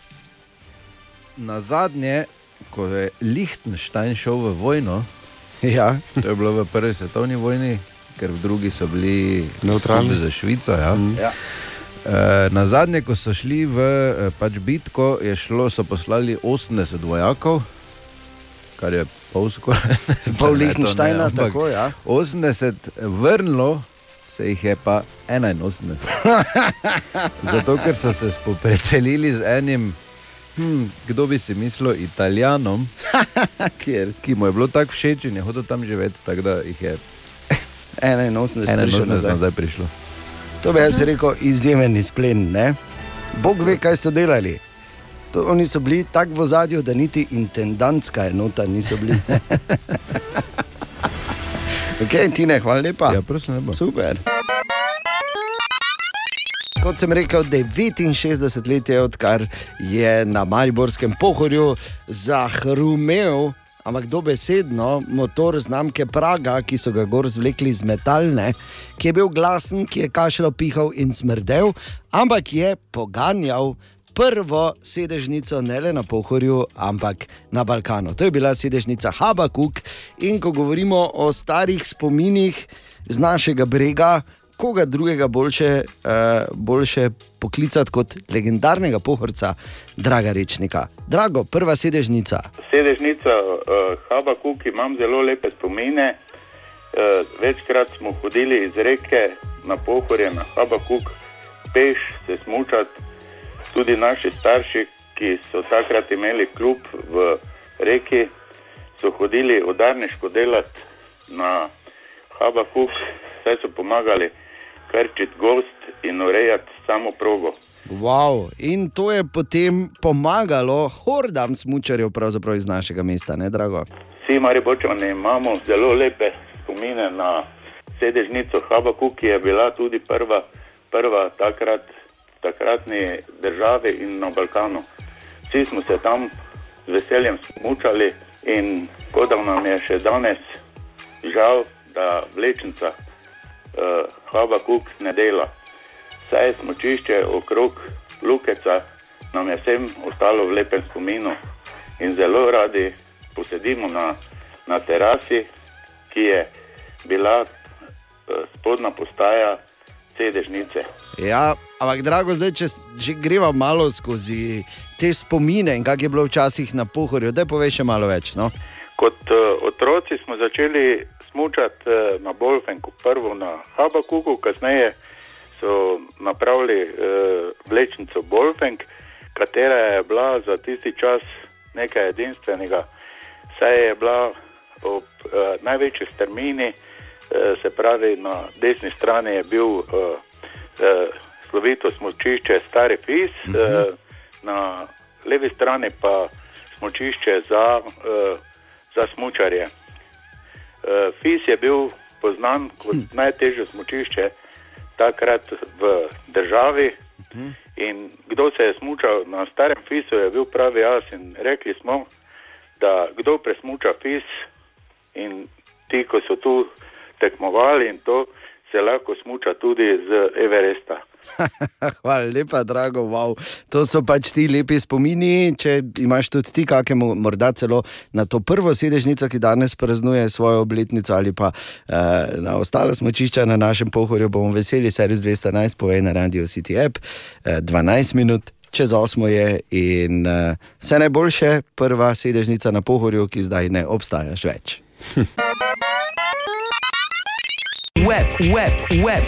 na zadnje, ko je Liechtenstein šel v vojno,
[laughs] ja,
to je bilo v prvi svetovni vojni, ker v drugi so bili
Nevtralni.
skupaj Za Švico. Ja.
Ja.
E, na zadnje, ko so šli v e, pač bitko, je šlo, so poslali 80 vojakov, kar je pol
[laughs]
skoraj.
pol
Ne, to ne,
Lihtenštajna,
ampak
tako ja.
80 vrnilo, se jih je pa 81.
[laughs]
Zato, ker so se spopredelili z enim, hm, kdo bi si mislil,
[laughs]
Italijanom,
Kjer?
ki mu je bilo tako všeč in je hodil tam živeti, tako da jih je
81 prišel
81
nazaj.
nazaj prišlo.
To bi jaz rekel izjemen izplen. Ne? Bog ve, kaj so delali. To, oni so bili tako v zadju, da niti intendantska enota niso
[laughs]
bili. ok, Tine, hvala lepa.
Ja, prosim, lepo.
Super. Kot sem rekel, 69 let je, odkar je na Mariborskem pohorju zahrumel, ampak dobesedno, motor znamke Praga, ki so ga gor zvlekli iz metalne, ki je bil glasen, ki je kašljal, pihal in smrdel, ampak je poganjal. Prvo sedežnico ne le na Pohorju, ampak na Balkanu. To je bila sedežnica Habakuk. In ko govorimo o starih spominih z našega brega, koga drugega boljše, uh, boljše poklicati kot legendarnega pohorca, draga rečnika. Drago, prva sedežnica.
sedežnica uh, Habakuk imam zelo lepe spomine. Uh, večkrat smo hodili iz reke na pohorje na Habakuk, peš se smučati. Tudi naši starši, ki so takrat imeli klub v reki, so hodili odarniško delati na Habakuk, saj so pomagali krčiti gost in urejati samo progo.
Wow. In to je potem pomagalo hordam smučarjev pravzaprav iz našega mesta, ne drago.
Vsi mariborčani imamo zelo lepe spomine na sedežnico Habaku, ki je bila tudi prva, prva takrat, takratni državi in na Balkanu. Vsi smo se tam z veseljem mučali in kot da nam je še danes žal, da vlečnica eh, Habakuk ne dela. Saj je smočišče okrog Lukeca nam je vsem ostalo v lepem spominu in zelo radi posedimo na, na terasi, ki je bila eh, spodnja postaja sedežnice.
Ja, ampak drago, zdaj, če s- že greva malo skozi te spomine in kako je bilo včasih na pohorju, da poveš še malo več. No?
Kot uh, otroci smo začeli smučati uh, na Bolfenku, prvo na Habakuku, kasneje so napravili uh, vlečnico Bolfenk, katera je bila za tisti čas nekaj edinstvenega. Saj je bila ob uh, največji strmini, uh, se pravi na desni strani je bil uh, uh, slovito smočišče Stari Fis, uh -huh.
Mhm.
uh, na levi strani pa smočišče za. Uh, za smočarje. Eh, FIS je bil poznan kot najtežje smočišče takrat v državi. In kdo se je smučal na starem FIS-u, je bil pravi jaz. In rekli smo, da kdo presmuča FIS, in ti, ko so tu tekmovali, in to se lahko smuča tudi z Everesta.
[laughs] Hvala lepa, drago. Wow. To so pač ti lepi spomini. Če imaš tudi ti, kakemu, morda celo na to prvo sedežnico, ki danes praznuje svojo obletnico, ali pa eh, na ostale smočišča na našem pohorju, bomo veseli, servis 211, povej na Radio City App, eh, 12 minut. Čez osmo je in uh, vse najboljše, prva sedežnica na pohorju, ki zdaj ne obstajaš več.
Web, web, web,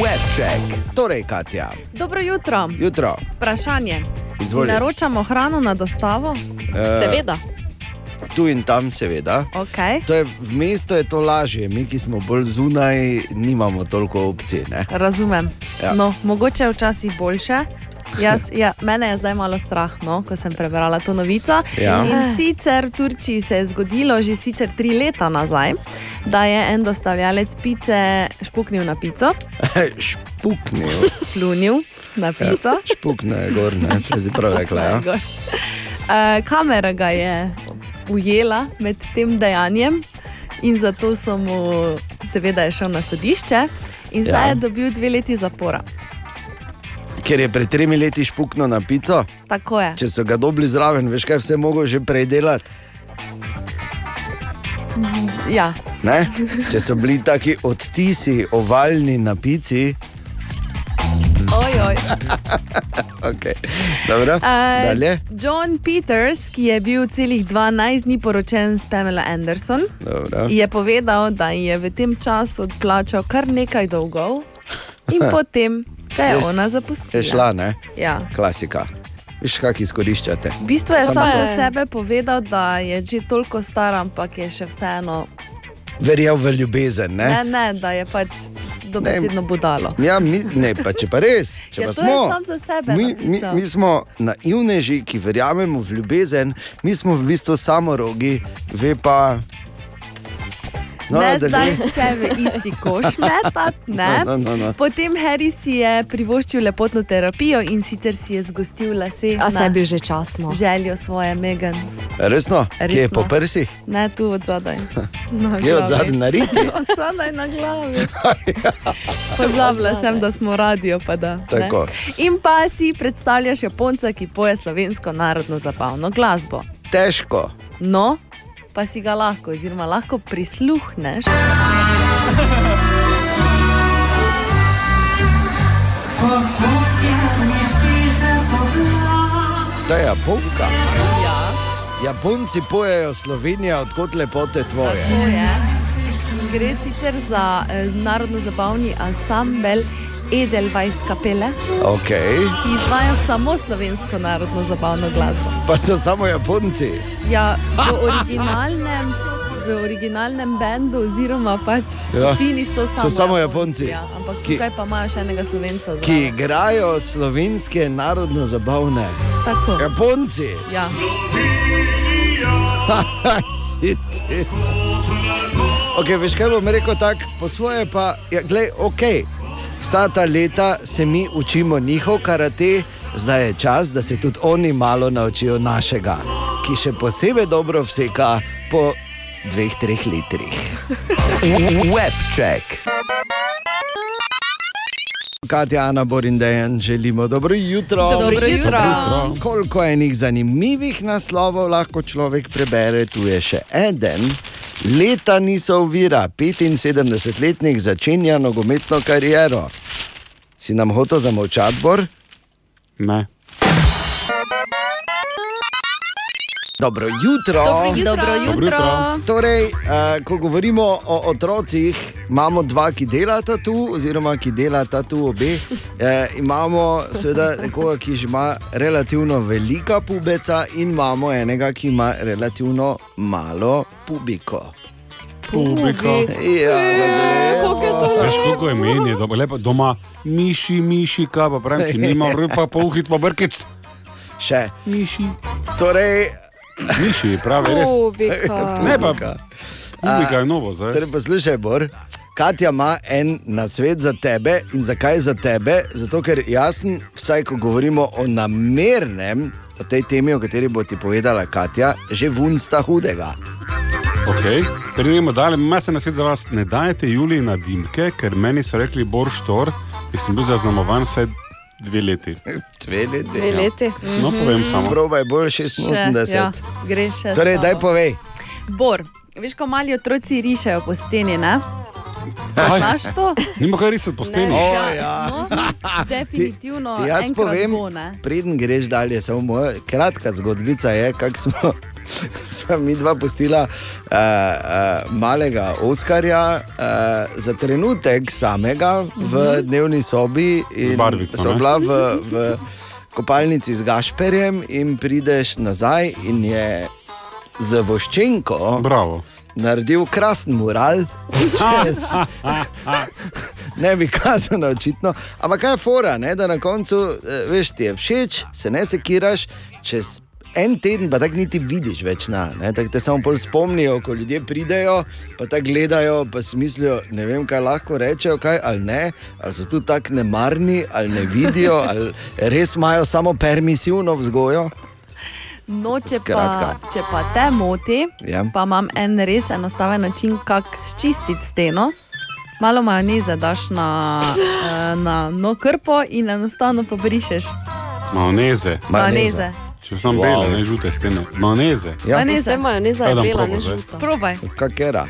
web check.
Torej, Katja,
Dobro jutro.
jutro.
Vprašanje. Si
Izvoli.
Naročamo hrano na dostavo?
Uh,
Seveda.
tu in tam, seveda.
Okay.
To je, v mestu je to lažje, mi, ki smo bolj zunaj, nimamo toliko opcij. Ne?
Razumem.
Ja.
Ja. No, mogoče je včasih boljše. Jaz, ja, mene je zdaj malo strah, no, ko sem prebrala to novico.
Ja.
In sicer v Turčiji se je zgodilo že sicer tri leta nazaj, da je en dostavljalec pice špuknil na pico,
Špuknejo,
plunil na [laughs] pico. Ja.
špuknejo gor, ne se zdaj prav rekla.
[laughs]
Ja?
Uh, kamera ga je ujela med tem dejanjem in zato so mu, seveda, je šel na sodišče in zdaj
Ja.
ja. je dobil dve leti zapora.
Ker je pred tremi leti špuknil na pico,
Tako je.
če so ga dobili zraven, veš kaj vse mogo že predelati.
Ja.
Ne? Če so bili taki odtisi, ovalni na pici, [laughs]
Ojoj.
okay. dobro.
Eh,
Dalje.
John Peters, ki je bil celih 12 dni poročen s Pamela Anderson,
Dobro.
je povedal, da ji je v tem času odplačal kar nekaj dolgov
[laughs]
in potem te je ona zapustila.
Je šla, ne?
Ja.
Klasika. Veš, kako izkoriščate.
V bistvu je
Samo
sam
to.
za sebe povedal, da je že toliko star, ampak je še vseeno
verjel v ljubezen. Ne?
Ne, ne, da je pač dobesedno budalo.
Ja, mi, ne, pa če pa res, če
Ja,
pa
to je
smo,
sam za sebe
Mi, mi,
napisal.
mi smo naivneži, ki verjamemo v ljubezen, mi smo v bistvu samorogi, ve pa. no,
ne
nadaljuj.
zdaj vse v isti koš metat. ne.
No, no, no, no.
Potem Harry si je privoščil lepotno terapijo in sicer si je zgostil lase.
A
na
sebi že časno.
Željo svoje Megan,
Resno, ki je
Resno.
po prsih,
ne tu od zadaj.
ki je od zadaj Ja. narit.
[laughs] od zadaj na
[laughs]
glavi. Pozabila sem, da smo radio. Pa da, ne.
Tako.
In pa si predstavljaš Japonca, ki poje slovensko narodno zabavno glasbo.
Težko.
No, pa si ga lahko, oziroma lahko prisluhneš.
To je Japonka.
Ja.
Japonci pojejo Slovenijo, odkot lepote tvoje.
To je. Gre sicer za eh, narodno-zabavni ansambl Edelweiss Kapele,
Okay.
ki izvaja samo slovensko narodno-zabavno glasbo.
Pa so samo Japonci.
Ja, v originalnem, v originalnem bendu, oziroma pač
Ja.
skupini so
So
samo,
samo Japonci.
Ja, ampak
Ki-
tukaj pa imaš enega slovenca.
Ki
zraven.
igrajo slovenske narodno zabavne.
Tako.
Japonci.
Ja.
[laughs] Si ti. okay, veš, kaj bom rekel tako, po svoje pa, ja, glej, ok. Vsa ta leta se mi učimo njihov karate, zdaj je čas, da se tudi oni malo naučijo našega, ki še posebej dobro vseka po dveh, treh litrih.
Webček.
Katja, Ana, Borin, Dejan, želimo dobro jutro.
Dobro Dobro jutro. jutro. Dobro
Koliko enih zanimivih naslovov lahko človek prebere, tu je še eden. Leta niso uvira, 75-letnik začenja nogometno kariero. Si nam hotel zamovčati, Bor?
Ne.
Dobro jutro.
Dobro jutro.
Dobro jutro.
Torej, eh, ko govorimo o otrocih, imamo dva, ki delata tu, oziroma ki delata tu obe. Eh, imamo seveda nekoga, ki že ima relativno velika pubeca, in imamo enega, ki ima relativno malo pubiko.
Publiko.
Ja, lepo.
Veš, kako je meni, je dobro, lepo doma, miši, miši, kaj pa pravim, če nima rupa, pa uhit, pa brkic.
Še.
Miši.
Torej,
Miši, pravi, res.
Ubika.
Ne pa, publika je novo zdaj.
torej poslušaj, Bor. Katja ima en nasvet za tebe in zakaj za tebe? Zato, ker jasno, vsaj ko govorimo o namernem, o tej temi, o kateri bo ti povedala Katja, že vunsta hudega.
Okay. Prenemo dalje, ima se na svet za vas, ne dajete Juliji na dimke, ker meni so rekli Borštor, ki sem bil zaznamovan vse dve leti.
Dve leti. ja.
Dve leti.
No, povem samo.
Probaj bolj
Še,
86.
Mhm. ja, gre še.
Torej,
slabo.
daj povej.
Bor. Veš, ko mali otroci rišejo po steni, ne?
Aj,
Znaš to?
nima kaj risati po steni.
O, ja.
No,
Ti,
[laughs] definitivno.
ti jaz
enkrat
povem,
bo, ne.
preden greš dalje, samo moja kratka zgodbica je, kako smo, [laughs] smo mi dva pustila uh, uh, malega Oskarja uh, za trenutek samega v dnevni sobi. in
Z barvico,
Sva
ne?
bila v, v kopalnici z Gašperjem in prideš nazaj in je z voščenko
Bravo.
naredil krasen mural, čez.
[laughs]
Ne bi kazano, očitno. Ampak kaj je fora, ne? da na koncu eh, veš, ti je všeč, se ne sekiraš, čez en teden pa tako niti vidiš več na. ne, Tako te samo bolj spomnijo, ko ljudje pridejo, pa tako gledajo, pa si mislijo, ne vem, kaj lahko rečejo, kaj ali ne, ali so tu tako nemarni, ali ne vidijo, ali res imajo samo permisivno vzgojo.
No, če pa,
Skratka.
če pa te moti,
Ja.
pa imam en res enostaven način, kako ščistiti steno. Malo majoneze daš na,
[laughs]
eh, na no krpo in enostavno pobrišeš.
Majoneze.
Majoneze.
Majoneze.
Če sem wow. bele, ne žute stene. Majoneze.
Ja,
Majoneze.
Zdaj majoneza je
Kaj dam
bela,
probo
ne
zdaj?
žuta.
Probaj.
kakera.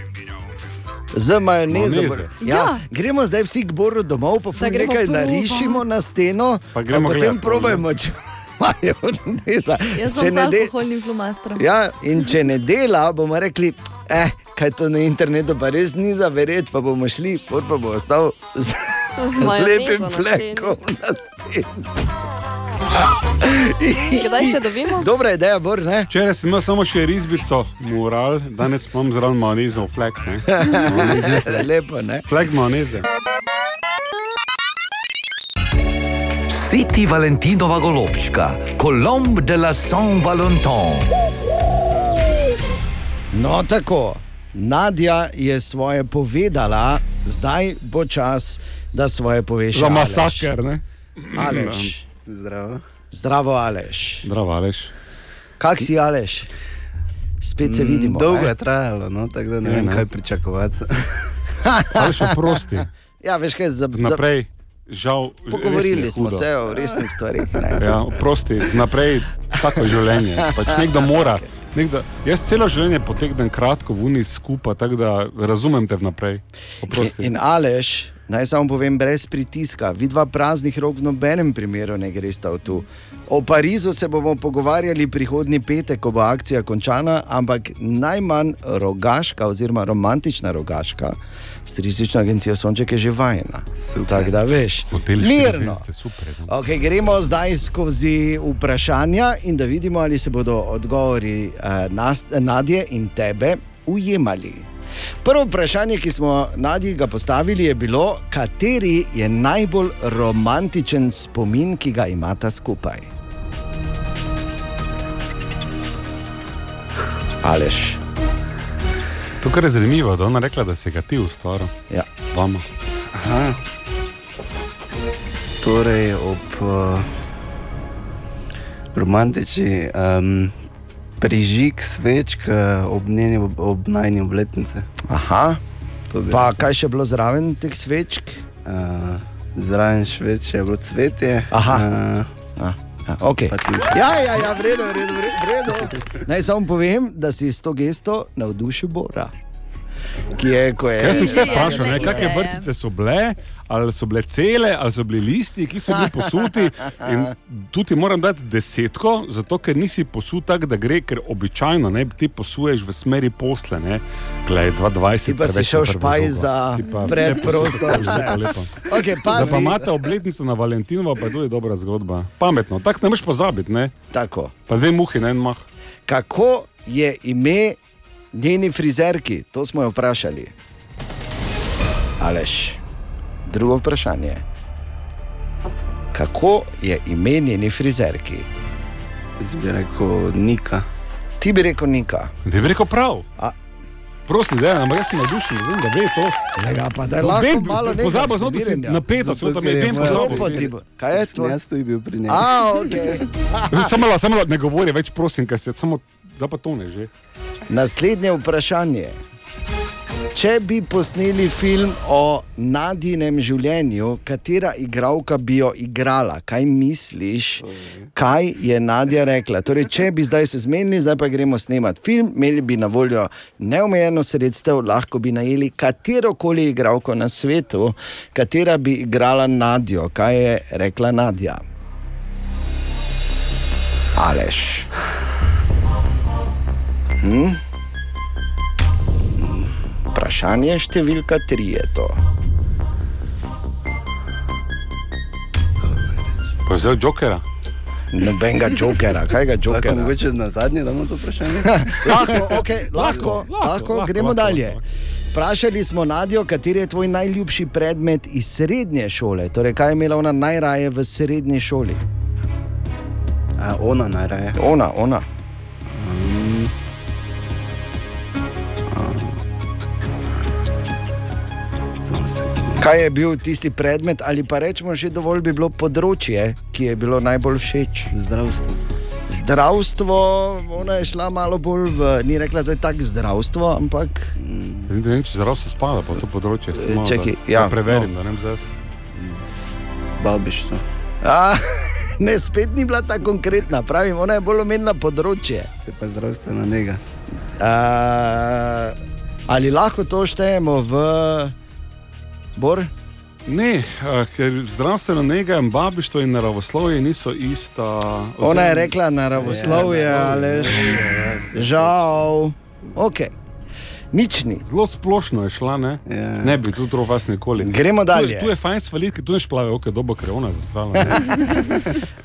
Z majonezo.
Majoneze.
Ja.
Ja, gremo zdaj vsi k boru domov, pa ful
Da gremo
nekaj
probat.
narišimo na steno,
Pa gremo
pa potem
gledat,
probajmo, če [laughs] majoneza.
Jaz
Če
sem
ne,
ne
de...
alkoholni flomastrom.
ja, in če ne dela, bomo rekli, eh, kaj to na internetu pa res ni za verjeti, pa bomo šli, pol pa bo ostal z, z
majonezo
lepim
na steni.
flekom na steni.
Kdaj se dobimo?
Dobra ideja, Bor. Ne?
Včeraj sem imel samo še risbico, mural, danes imam zraven majonezo, flek.
[laughs] Lepo, ne?
Flek majoneze.
Siti Valentinova golobčka, Colombe de la Saint-Valentin.
No, tako. Nadja je svoje povedala, zdaj bo čas, da svoje poveš.
Za
Aleš.
masaker, ne?
Aleš.
Zdravo.
Zdravo, Aleš.
Zdravo, Aleš.
Kak si, Aleš? Spet se
Mm,
vidimo.
Dolgo
ne?
je trajalo, no, tako da ne
Ja,
vem,
ne.
[laughs]
kaj pričakovati.
Aleš, oprosti.
Ja, veš kaj, za
Naprej, žal, res mi je
Pogovorili smo
hudo.
se o resnih stvarih. ne.
Ja, prosti, naprej tako je življenje. Pač nekdo mora. Nekdo, jaz celo življenje potegnem kratko, vuni skupaj, tako da razumem te naprej. Oprosti.
In Aleš, naj samo povem, brez pritiska, vidva praznih rok v nobenem primeru ne gresta v tu. O Parizu se bomo pogovarjali prihodnji petek, ko bo akcija končana, ampak najmanj rogaška oziroma romantična rogaška s turistično agencijo Sonček je že vajena. Tako da veš, mirno. Okay, gremo zdaj skozi vprašanja in da vidimo, ali se bodo odgovori eh, nas, Nadje in tebe ujemali. Prvo vprašanje, ki smo Nadji ga postavili, je bilo, kateri je najbolj romantičen spomin, ki ga imata skupaj. Aleš.
To, kar je zanimivo, da je ona rekla, da se ga ti ustvaril.
Ja.
Vama.
Aha. Torej, ob uh, romantični um, prižig svečk eh, ob, njeni, ob, ob najni obletnici.
Aha. Pa kaj še bilo zraven teh svečk?
Uh, zraven šveč je bilo cvetje. eh,
Aha. Uh, ah, ah, okay. Ja, ja, ja, v redu, v redu, v redu, v redu. Naj samo povem, da si s to gesto navdušil Bora. Ki je, ko je.
Jaz sem vse vprašal, ne, kakšne vrtice so bile, ali so bile cele, ali so bili listi, ki so bili posuti. In tu ti moram dati desetko, zato ker nisi posut tak, da gre, ker običajno ne, ti posuješ v smeri posle. Ne. Glej,
Ti
22.
pa si
preveč
šel
sem
špaj
prebrzogal.
za
Ti pa-
predprostor,
vse
vse.
pa
[laughs]
lepo.
Okay,
Da pa
pazi.
imate obletnico na Valentinovo, pa je tudi dobra zgodba. Pametno, tako ne moreš pozabiti. Ne?
Tako.
Pa dve muhi na en mah.
Kako je ime njeni frizerki? To smo jo vprašali. Aleš, drugo vprašanje. Kako je ime njeni frizerki?
Jaz bi rekel Nika.
Ti bi rekel Nika.
Ti bi rekel prav.
A,
Prosti, da, ampak jaz sem navdušen, vem, da ve to.
Ja, pa da je lahko
No, Vem,
malo nekaj
Pozabil sem, da si
vznemirjenja.
napeto, sem tam edin pozabil.
Kaj je to?
Jaz tu bi bil pri njej.
A, okay.
Samo malo, samo malo, ne govori več, prosim, ker se samo zapatone že.
Naslednje vprašanje. Če bi posneli film o nadinem življenju, katera igralka bi jo igrala, kaj misliš, kaj je Nadja rekla? Torej, če bi zdaj se zmenili, zdaj pa gremo snemati film, imeli bi na voljo neomejeno sredstev, lahko bi najeli katero koli igralko na svetu, katera bi igrala Nadjo, kaj je rekla Nadja. Aleš. Hm? Vprašanje številka tri je to.
Pa je vzel jokera.
Nobenega jokera, kaj ga
Lahko
jokera.
mogoče na zadnje damo to vprašanje?
[laughs] lahko, okay, lahko, lahko, lahko, lahko, gremo lahko, dalje. Vprašali smo Nadjo, kateri je tvoj najljubši predmet iz srednje šole, torej kaj je imela ona najraje v srednji šoli.
A, ona najraje.
Ona, ona.
Mm.
Kaj je bil tisti predmet, ali pa rečemo, že dovolj bi bilo področje, ki je bilo najbolj všeč?
Zdravstvo.
Zdravstvo, ona je šla malo bolj v, ni rekla zdaj tako zdravstvo, ampak
Ne vem, če zdravstvo spada pod to področje.
Eh,
se malo,
čakaj,
da-
ja,
da Preverim,
no.
da ne bi zdaj.
Babištvo.
A, [laughs] ne, spet ni bila tako konkretna, pravim, ona je bolj omenila področje.
Je pa zdravstvena nega.
A, ali lahko to štejemo v Bor?
Ne, eh, ker zdravstvena nega, babištvo in naravoslovje niso ista.
Ona je
Ja,
rekla naravoslovje, ali žal. Okay. Nič ni. Ja.
Zelo splošno je šla, ne, yeah. ne bi tu trofas nikoli.
Gremo dalje.
Tu, je- tu je fajn svalit, ker tu ne šplave, ok, dobo krevna zastrala.
[laughs]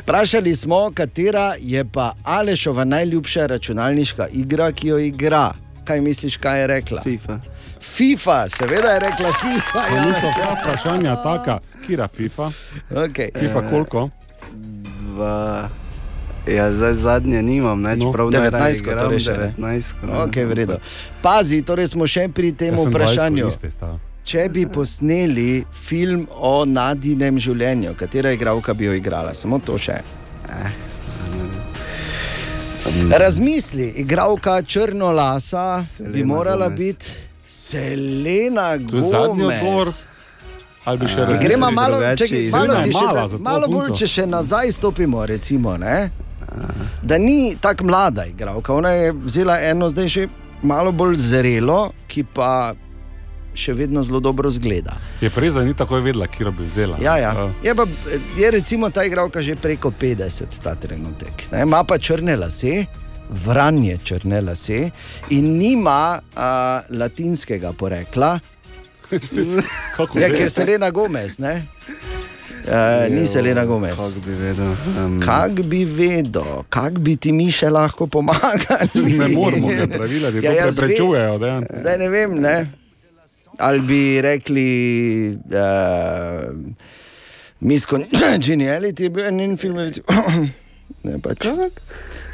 Vprašali smo, katera je pa Alešova najljubša računalniška igra, ki jo igra. Kaj misliš, kaj je rekla?
FIFA.
FIFA, seveda je rekla FIFA.
To
ja.
niso vsa vprašanja taka, kira FIFA.
Okay.
FIFA koliko?
Eh, Dva. [laughs] Ja, zdaj zadnje nimam, ne,
No.
čeprav ne
19
igram, no.
torej še, ne?
19.
Okej, v redu. Pazi, torej smo še pri tem vprašanju.
stala.
Če bi posneli film o nadinem življenju, katera igralka bi jo igrala, samo to še. Eh? Razmisli, igralka črnolasa Selena bi morala biti Selena
To je
Gomez.
zadnji odgovor. Ali bi še
Ja,
razmislili?
Gremo malo, če, malo,
Ne,
ti še,
mala,
da,
za tvojo
malo bolj,
punco.
če še nazaj stopimo. Recimo, ne? da ni tako mlada igralka. Ona je vzela eno zdaj še malo bolj zrelo, ki pa še vedno zelo dobro zgleda.
Je pa res, da ni takoj vedela, kje bi vzela.
Ja, ja. Je, pa, je recimo ta igralka že preko 50 ta trenutek. Ne? Ima pa črne lase, vranje črne lase in nima a, latinskega porekla.
[laughs] Kako
Ja,
ve?
ker je Selena Gomez, ne? Uh, ni Selena Gomez. Kako
bi vedel? Um...
Kako bi vedel, kako bi ti mi še lahko pomagali?
Ne moremo, ker
[laughs]
pravila ti to
Ja, jaz ve-
preprečujejo, dejan.
Zdaj ne vem, ne? ali bi rekli. Uh, Miss [clears throat] Congeniality je bil en njen film, recimo. [clears throat] ne, pač.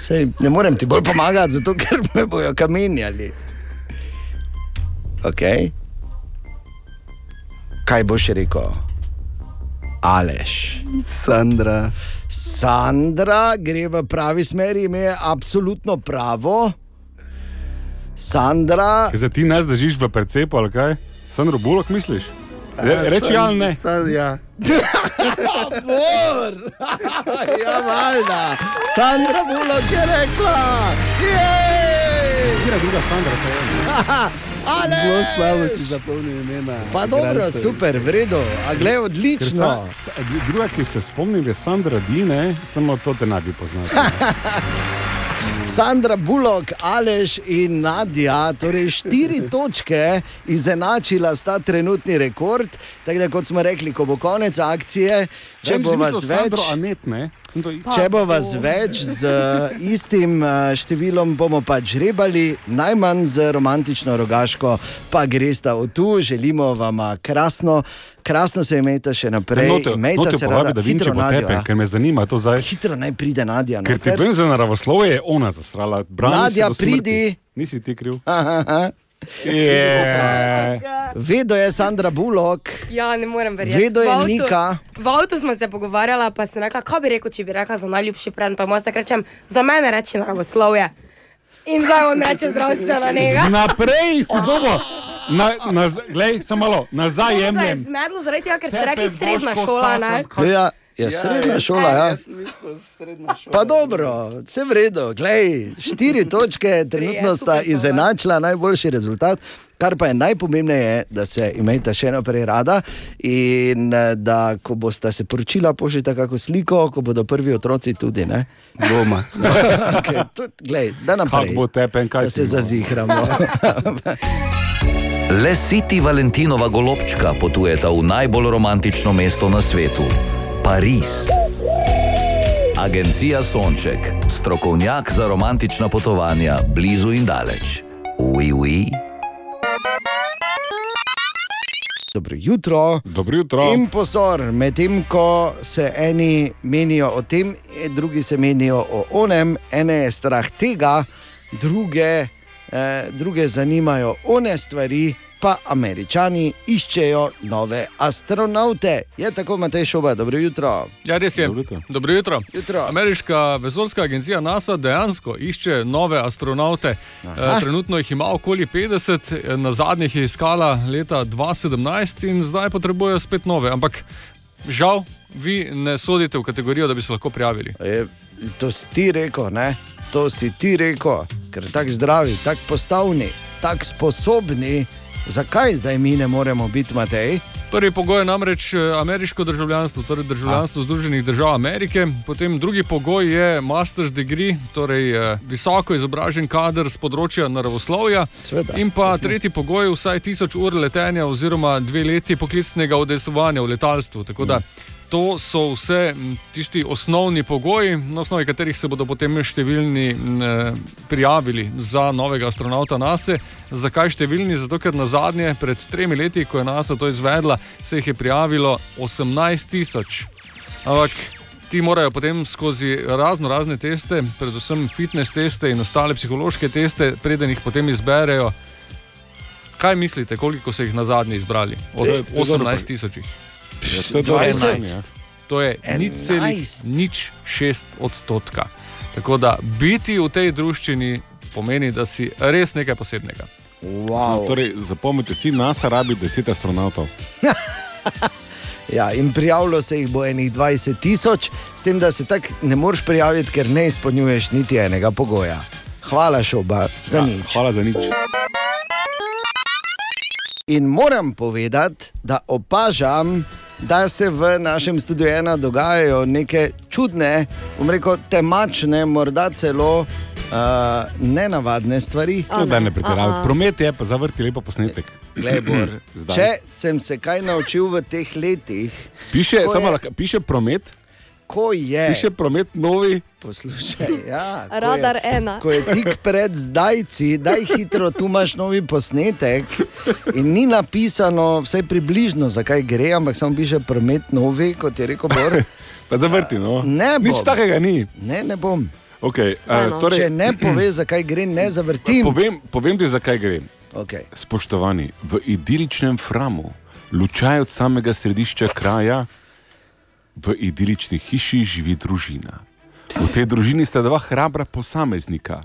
Sej, ne morem ti bolj pomagati, zato ker me bojo kamenjali. Okay. Kaj boš rekel? Aleš.
Sandra.
Sandra gre v pravi smeri, ime je absolutno pravo. Sandra,
Zdaj ti nas držiš v precepu ali kaj? Sandro Bulok misliš? Re, reči ali ne?
San, ja.
Bor! [laughs] ja, valjda. Sandra Bullock je rekla. Kje
je druga Sandra?
Zelo
Ale!
slabo si zapomnil imena.
Pa dobro,
igralcev.
super, v redu. A gled, odlično.
Sa, sa, druga, ki se spomnim, je Sandra Dine, samo to te ne bi poznal.
Sandra Bullock, Aleš in Nadja, torej
[laughs]
štiri točke izenačila sta trenutni rekord. Tako da, kot smo rekli, ko bo konec akcije, če bo vas več.
Sandro Anet, ne? Sem to-
Če bo vas več z eh, istim eh, številom, bomo pač žrebali, najmanj z romantično rogaško, pa gresta v tu, želimo vam eh, krasno, krasno se imejte še naprej.
Note,
Imejte
note
se
povabi, da vinči
hitro
po
Nadjo,
tebe,
ja.
ker me zanima to zdaj.
Hitro naj pride Nadja. no,
Ker ti
ker-
povem za naravoslovje, je ona zasrala. Brani se
Nadja,
do smrti.
pridi.
Nisi ti kriv.
Je.
Vedo je Sandra Bullock.
Ja, ne morem verjeti.
Vedo je
V avtu-
Nika.
V avtu smo se pogovarjali, pa sem rekla, kaj bi rekel, če bi rekla za najljubši predmet. Pa jaz tako rečem, za mene reči naravoslovje. In zdaj on reče zdravstveno ja. nekaj.
Naprej si dobo. Na, naz, glej, samo malo, nazaj jemljem.
Zmedlo zaradi tega, ker ste
Tepe
rekli
z
srednja
Boško
šola. Ne?
Sakom.
Ja, ja, srednja šola. Ja. Pa dobro, vse v redu, Glej, [laughs] štiri točke, trenutno sta izenačila najboljši rezultat. Kar pa je najpomembneje, je, da se imejte še naprej rada in eh, da, ko boste se poročila, pošljite kakšno sliko, ko bodo prvi otroci tudi. Ne? [laughs]
Doma.
okay, tudi, glej, da naprej.
Kako bo
tepen,
kaj da se zazihramo.
Le Siti Valentinova golobčka potujeta v najbolj romantično mesto na svetu - Pariz. Agencija Sonček, strokovnjak za romantična potovanja blizu in daleč. Ui, ui.
Dobro jutro.
Dobro jutro.
In pozor, medtem ko se eni menijo o tem, eh, drugi se menijo o onem, ene je strah tega, druge, eh, druge zanimajo one stvari, pa američani iščejo nove astronaute. Je tako, Matej Šoba, dobro jutro.
Ja, res je. Dobro jutro.
jutro.
Ameriška vesoljska agencija NASA dejansko išče nove astronaute. E, trenutno jih ima okoli 50, e, na zadnjih je iskala leta 2017 in zdaj potrebujejo spet nove. Ampak žal, vi ne sodite v kategorijo, da bi se lahko prijavili.
Je, E, to si ti rekel, ne? To si ti rekel, ker tako zdravi, tako postavni, tako sposobni. Zakaj zdaj mi ne moremo biti, Matej?
Prvi pogoj je namreč eh, ameriško državljanstvo, torej državljanstvo A. Združenih držav Amerike. Potem drugi pogoj je master's degree, torej eh, visoko izobražen kader z področja naravoslovja.
Sveda,
In pa jasno. tretji pogoj je vsaj tisoč ur letenja oziroma dve leti poklicnega udejstvovanja v letalstvu. Tako da To so vse m, tisti osnovni pogoji, na osnovi katerih se bodo potem številni m, eh, prijavili za novega astronauta NASA. Zakaj številni? Zato, ker na zadnje, pred tremi leti, ko je NASA to izvedla, se jih je prijavilo 18 tisoč. Ampak ti morajo potem skozi razno razne teste, predvsem fitness teste in ostale psihološke teste, preden jih potem izberejo. Kaj mislite, koliko so jih na zadnje izbrali? Od
Ej, E, to
18 tisočih.
je dobro vprašanje. Ja, to ja. je dobro 20. vprašanje.
To je nič celih, nič šest odstotka. Tako da biti v tej družščini pomeni, da si res nekaj posebnega.
Wow. Torej, zapomnite si, NASA rabi 10 astronautov.
Ja, in prijavilo se jih bo enih 20 tisoč, s tem, da se tako ne moreš prijaviti, ker ne izpolnjuješ niti enega pogoja. Hvala, šoba, za ja, nič.
Hvala za nič.
In moram povedati, da opažam, da se v našem studiu ena dogajajo neke čudne, bom rekel, temačne, morda celo uh, nenavadne stvari.
No, da ne pretiravam. Promet je pa zavrti lepo posnetek.
Glebor,
[clears throat] Zdaj.
Če sem se kaj naučil v teh letih,
Piše,
ko
samo,
je-
lahko- piše promet,
ko je.
piše promet novi.
Poslušaj, ja, ko
Radar
je,
ena.
Ko je tik pred zdajci, da je hitro, tu imaš novi posnetek. In ni napisano, vse približno, zakaj gre, ampak samo piše promet novi, kot je rekel Bor.
[laughs] Pa zavrti, no.
Ne bom.
Nič takega ni.
Ne, ne bom.
Okay, uh, torej,
Če ne pove, zakaj gre, ne zavrtim.
Povem, povem ti, zakaj gre.
Okay.
Spoštovani, v idiličnem framu, lučaj od samega središča kraja, v idilični hiši živi družina. V tej družini sta dva hrabra posameznika,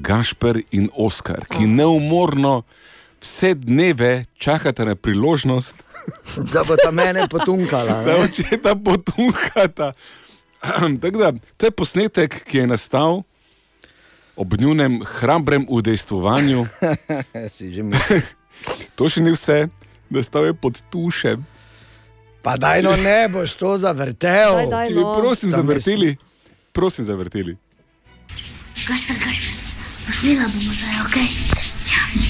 Gašper in Oskar, ki neumorno vse dneve čakata na priložnost,
Da bo ta mene potunkala.
da
ne.
očeta potunkata. Tako da, to je posnetek, ki je nastal ob njunem hrabrem udejstvovanju.
[laughs] si že mislim.
[laughs] to še ni vse, nastal je pod tušem.
Pa daj, no ne boš to zavrtel.
Daj, daj, Če bi, no. prosim,
Tam je
zavrteli. Prosim, zavrteli.
Gašper, gašper, posnela bomo zdaj, ok?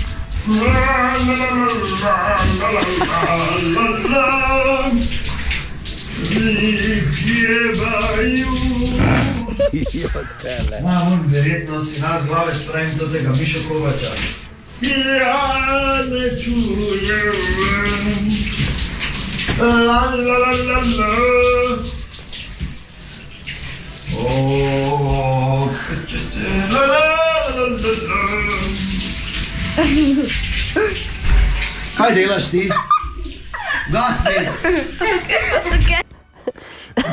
Ma, on verjetno si nas glave strani do tega Miša Kovača.
Ja ne čujem. La la la la la. Oh, če se la la la la la.
Kaj delaš ti? Glasni.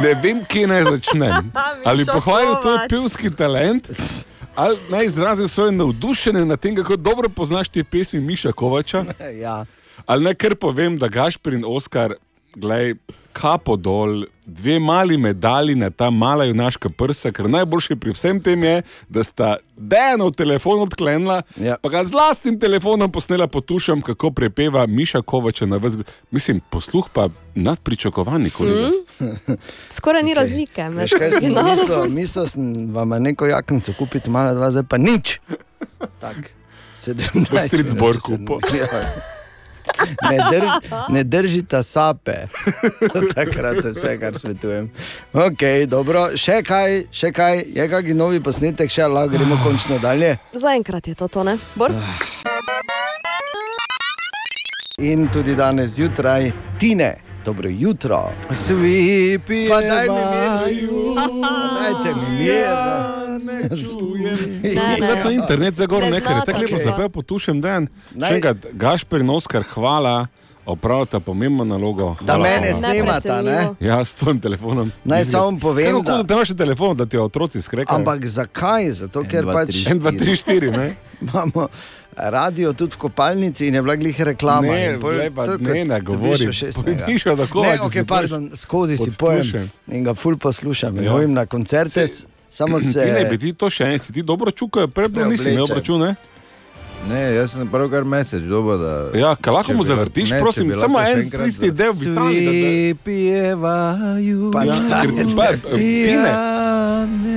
Ne vem, kje naj začnem. Ali
Mišo
pohvalim tvoj
Kovač.
pevski talent, ali naj izrazim svoje navdušenje nad tem, kako dobro poznaš te pesmi Miša Kovača.
Ja.
Ali naj kar povem, da Gašprin in Oskar, gledaj, kapo dol, dve mali medalji na ta mala junaška prsa, ker najboljše pri vsem tem je, da sta Dejano telefon odklenila, ja. pa ga z lastnim telefonom posnela potušam, kako prepeva Miša Kovača na vzgled. Mislim, posluh pa nad pričakovanji, kolega. Mm.
Mm. Skoraj ni okay. razlike no. med
Veš, kaj sem
originalom.
mislil? Mislil sem vam neko jaknico kupiti, malo dva, zdaj pa nič. Tak, 17.
Bo stric Borko
kupil. Ne, drž, ne držite sape, [laughs] takrat je vse, kar svetujem. Okay, dobro, še kaj, še kaj, je kakšen novi posnetek, še lahko gremo končno dalje.
Zaenkrat je to, to ne? Bor?
Ah. In tudi danes zjutraj, tine, dobro jutro. Svipi, pa daj mi mir, [laughs] dajte mi mir.
Ne, ne, na internet za gor
Ne
nekaj,
znata
tako lepo
tega.
zapel, potušem dan.
Naj-
Še enkrat, Gašper in Oskar, hvala, opravljate pomembno nalogo.
Da
Hvala,
mene
hvala.
snemata, ne?
Ja, s tvojim telefonom.
Naj
Mislim,
samo povem,
Kako
da-
da... da imaš še telefon, da ti otroci skrekajo?
Ampak zakaj? Zato, ker
dva,
pač.
tri, En, dva, tri, štiri, ne?
[laughs] Imamo radio tudi v kopalnici in je bila glih reklama.
Ne,
In pol
glej, pa
to,
ne,
kot
ne govori.
dobiš še
Pojdi
snega.
še do
Ne,
Kovačič,
okay,
si pač
pardon,
poješ
skozi si
pod
pojem
tušem.
in ga ful poslušam.
Ja.
Ja. Vojim na
[clears throat]
koncerte, se, samo se.
Ti ne bi ti to še en, si ti dobro čukajo, prej bil nisi imel
Preoblečem.
račune.
Ne, jaz sem pravkar mesec dobil. da-
Ja, kaj lahko
če
mu
bi-
zavrtiš,
ne, če
prosim,
bi
samo
lahko še
en
enkrat
tisti
za-
del bi tam.
Pripevajo.
Pa ja, ker pa, tine,
Tine.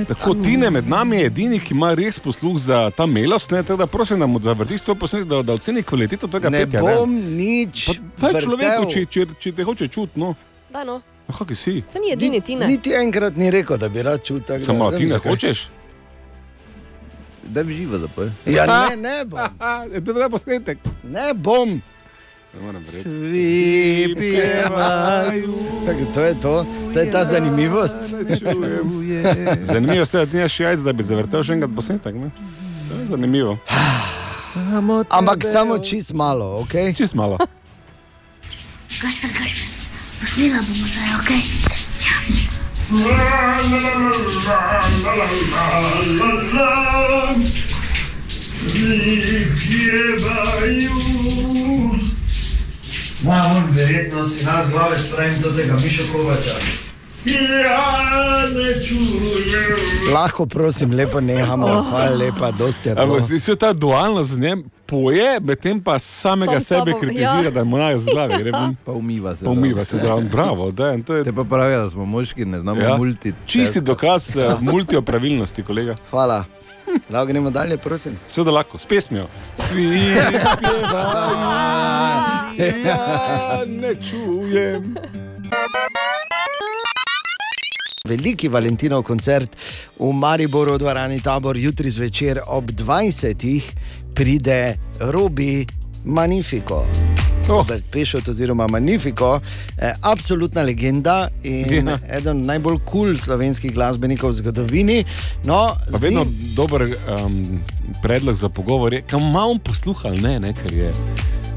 tako Tine med nami je edini, ki ima res posluh za ta melost, ne, tako da prosim, da mu zavrtiš to posnetek, da, da oceni kvaliteto tega
Ne
petja.
bom
nič. Pa, pa
vrtel.
človeku, če, če, če te hoče čutiti, no.
Da, no.
Aha, ki si.
Saj ni edini Tine.
Niti enkrat ni rekel, da bi rad čutil.
Samo malo, Tine, hočeš?
Da bi živel, da pa je.
[laughs]
Ja, ne, ne bom.
Da ne posnetek.
Ne bom.
Svi pjevajo.
To je to, to je ta zanimivost.
Zanimivo je, da nimaš jajc, da bi zavrtel še enkrat posnetek. Ne? To je Zanimivo.
Ampak samo čist malo, ok?
Čist malo.
Gašper, Gašper, posnela bomo zdaj, ok?
Moja mor verjetno si nas glave stran do tega Miša Kovača.
Lahko, prosim, lepo nehamo,
Oh.
hvala lepa, dosti je bilo.
Ampak si se ta dualnost v njem poje, medtem pa samega
Sam
Sam sebe
sabo,
kritizira,
ja.
ja. da mu naj z glave gre.
[laughs]
ven.
Pa umiva se.
Pa umiva se zraven, bravo. Dan, to je...
Te pa pravijo, da smo moški, ne znamo ja. multi.
Čisti dokaz eh, multiopravilnosti, kolega.
Hvala. Lahko gremo dalje, prosim.
Seveda lahko, s pesmijo. Svi ja, ne čujem.
[laughs] Veliki Valentinov koncert v Mariboru, v dvorani Tabor, jutri zvečer ob 20. pride Robi Magnifico.
Oh.
Robert Pešot, oziroma Magnifico, eh, absolutna legenda in
Ja.
eden najbolj kul cool slovenskih glasbenikov v zgodovini. No,
Pa
z
vedno
njim-
dober um, predlog za pogovor je, kam imam posluha, ali ne, ne, ker je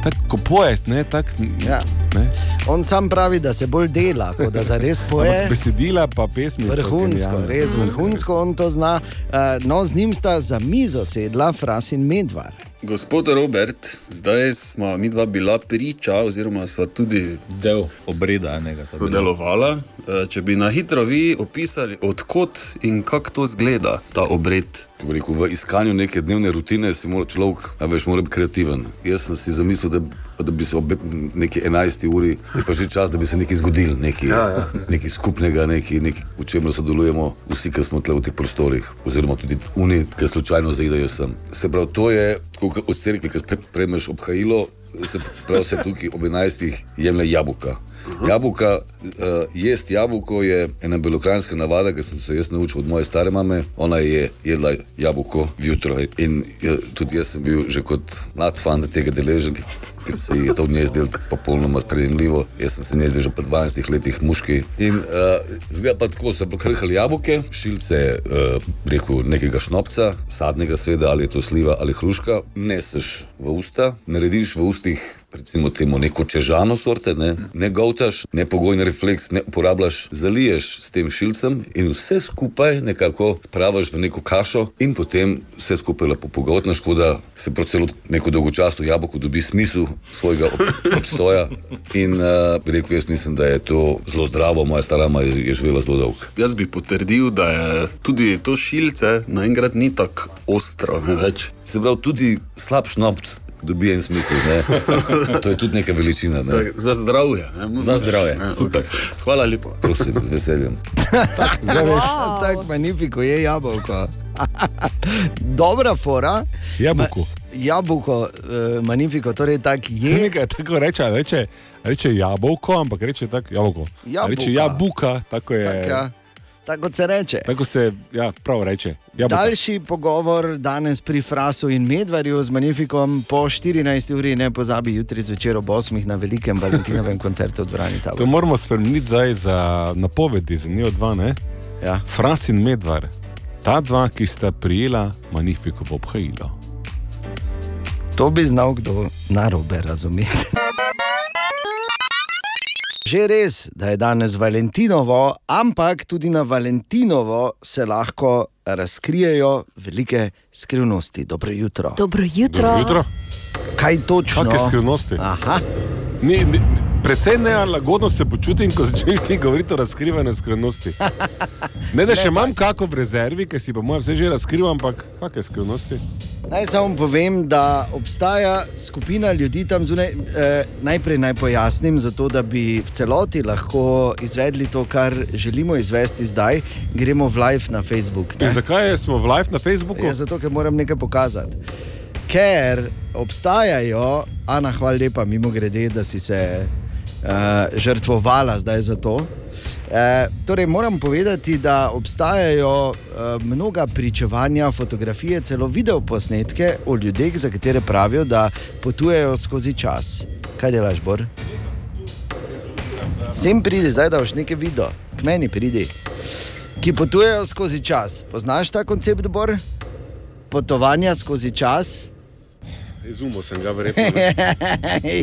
tako, ko poješ, ne, tako.
Ja.
Ne.
On sam pravi, da se bolj dela, kot da
[laughs]
zares
Ampak
poje.
Besedila pa pesmi. so
Vrhunsko,
genialne.
res vrhunsko on to zna. Eh, No, z njim sta za mizo sedla Fras in Medvar.
Gospod Robert, zdaj smo mi dva bila priča, oziroma smo tudi del obreda enega. Sodelovala. Eh, Če bi na hitro vi opisali, odkot in kako to zgleda, ta obred.
Kako bi Rekel, v iskanju neke dnevne rutine si mora človek, a veš, mora biti kreativen. Jaz sem si zamislil, da, da bi se ob neki 11. uri, je pa že čas, da bi se nekaj zgodil, nekaj, ja, ja. nekaj skupnega, nekaj, nekaj, v čemer sodelujemo vsi, ki smo tle v teh prostorih, oziroma tudi oni, ki slučajno zaidejo sem. Se pravi, to je tako kot od cerkve, ki spre- prejmeš obhajilo, se pravi, se tukaj ob 11. jemlje jabuka. Jabuka, uh, jesti jabolko je ena belokranska navada, ki sem se jo jaz naučil od moje stare mame. Ona je jedla jabolko zjutraj in eh, tudi jaz sem bil že kot mlad fan tega deležen, ki- ker se je to v njej zdelo popolnoma sprejemljivo. Jaz sem se njej zdel že po 12 letih muški. In uh, zgleda pa tako, so krhali jabolke, šilce, uh, rekel nekega šnopca, sadnega seveda, ali je to sliva ali hruška, neseš v usta, narediš v ustih recimo temu neko čežano sorte, ne, ne gotaš, ne pogojni refleks, ne uporabljaš, zaliješ s tem šilcem in vse skupaj nekako spraviš v neko kašo in potem vse skupaj lepo pogotnaš, tako da se prav celo neko dolgočasno jabolko dobi smisel svojega ob- obstoja. In uh, rekel, jaz mislim, da je to zelo zdravo, moja starama je, je živela zelo dolgo.
Jaz bi potrdil, da je tudi to šilce naenkrat ni tako ostro ne, več.
Se pravi, tudi slab šnopc dobi en smisel, ne? to je tudi neka veličina. Ne?
Tak, Za zdravje. ne.
Za zdravje.
Ja, Super. Hvala lepa.
Prosim, z veseljem.
[laughs]
Zdaj veš, tako magnifiko je jabolko. [laughs] Dobra fora.
Jabolko.
Jabolko, eh, magnifiko, torej tak
Saj
je.
nekaj Tako reče, reče, reče jabolko, ampak reče tako jabolko.
Jabuka.
Reče jabuka, tako je.
Tak, ja. Tako kot se reče.
Tako se ja, prav reče. Jabuka.
Daljši pogovor danes pri Frasu in Medvarju z Magnifikom po 14. uri, ne pozabi jutri zvečer ob 8. na velikem
[laughs]
Valentinovem koncertu v Dvorani
To
Tabor.
moramo spremeniti zdaj za napovedi, za njo dva, ne?
Ja.
Fras in Medvar, ta dva, ki sta prijela Magnifico obhajilo.
To bi znal kdo narobe razumeti. Že res, da je danes Valentinovo, ampak tudi na Valentinovo se lahko razkrijejo velike skrivnosti. Dobro jutro.
Dobro jutro. Dobro jutro.
Kaj točno?
Kakšne skrivnosti?
Aha.
Ne, ne, predvsej nelagodno se počutim, ko začneš ti govoriti o razkrivanju skrivnosti. Ne, da še imam kako v rezervi, ker si pa moje vse že razkrivam, ampak kakšne skrivnosti?
Naj samo povem, da obstaja skupina ljudi tam zunaj. Eh, najprej naj pojasnim, zato da bi v celoti lahko izvedli to, kar želimo izvesti zdaj. Gremo v live na Facebook.
In zakaj smo v live na Facebooku?
Ja, zato, ker moram nekaj pokazati. Ker obstajajo, Ana, hvala lepa, mimo grede, da si se uh, žrtvovala zdaj za to. E, torej, moram povedati, da obstajajo e, mnoga pričevanja, fotografije, celo videoposnetke o ljudeh, za katere pravijo, da potujejo skozi čas. Kaj delaš, Bor? Sem pridi, zdaj da boš nekaj videl, k meni pridi. Ki potujejo skozi čas. Poznaš ta koncept, Bor? Potovanja skozi čas.
Izumil sem ga, verjetno.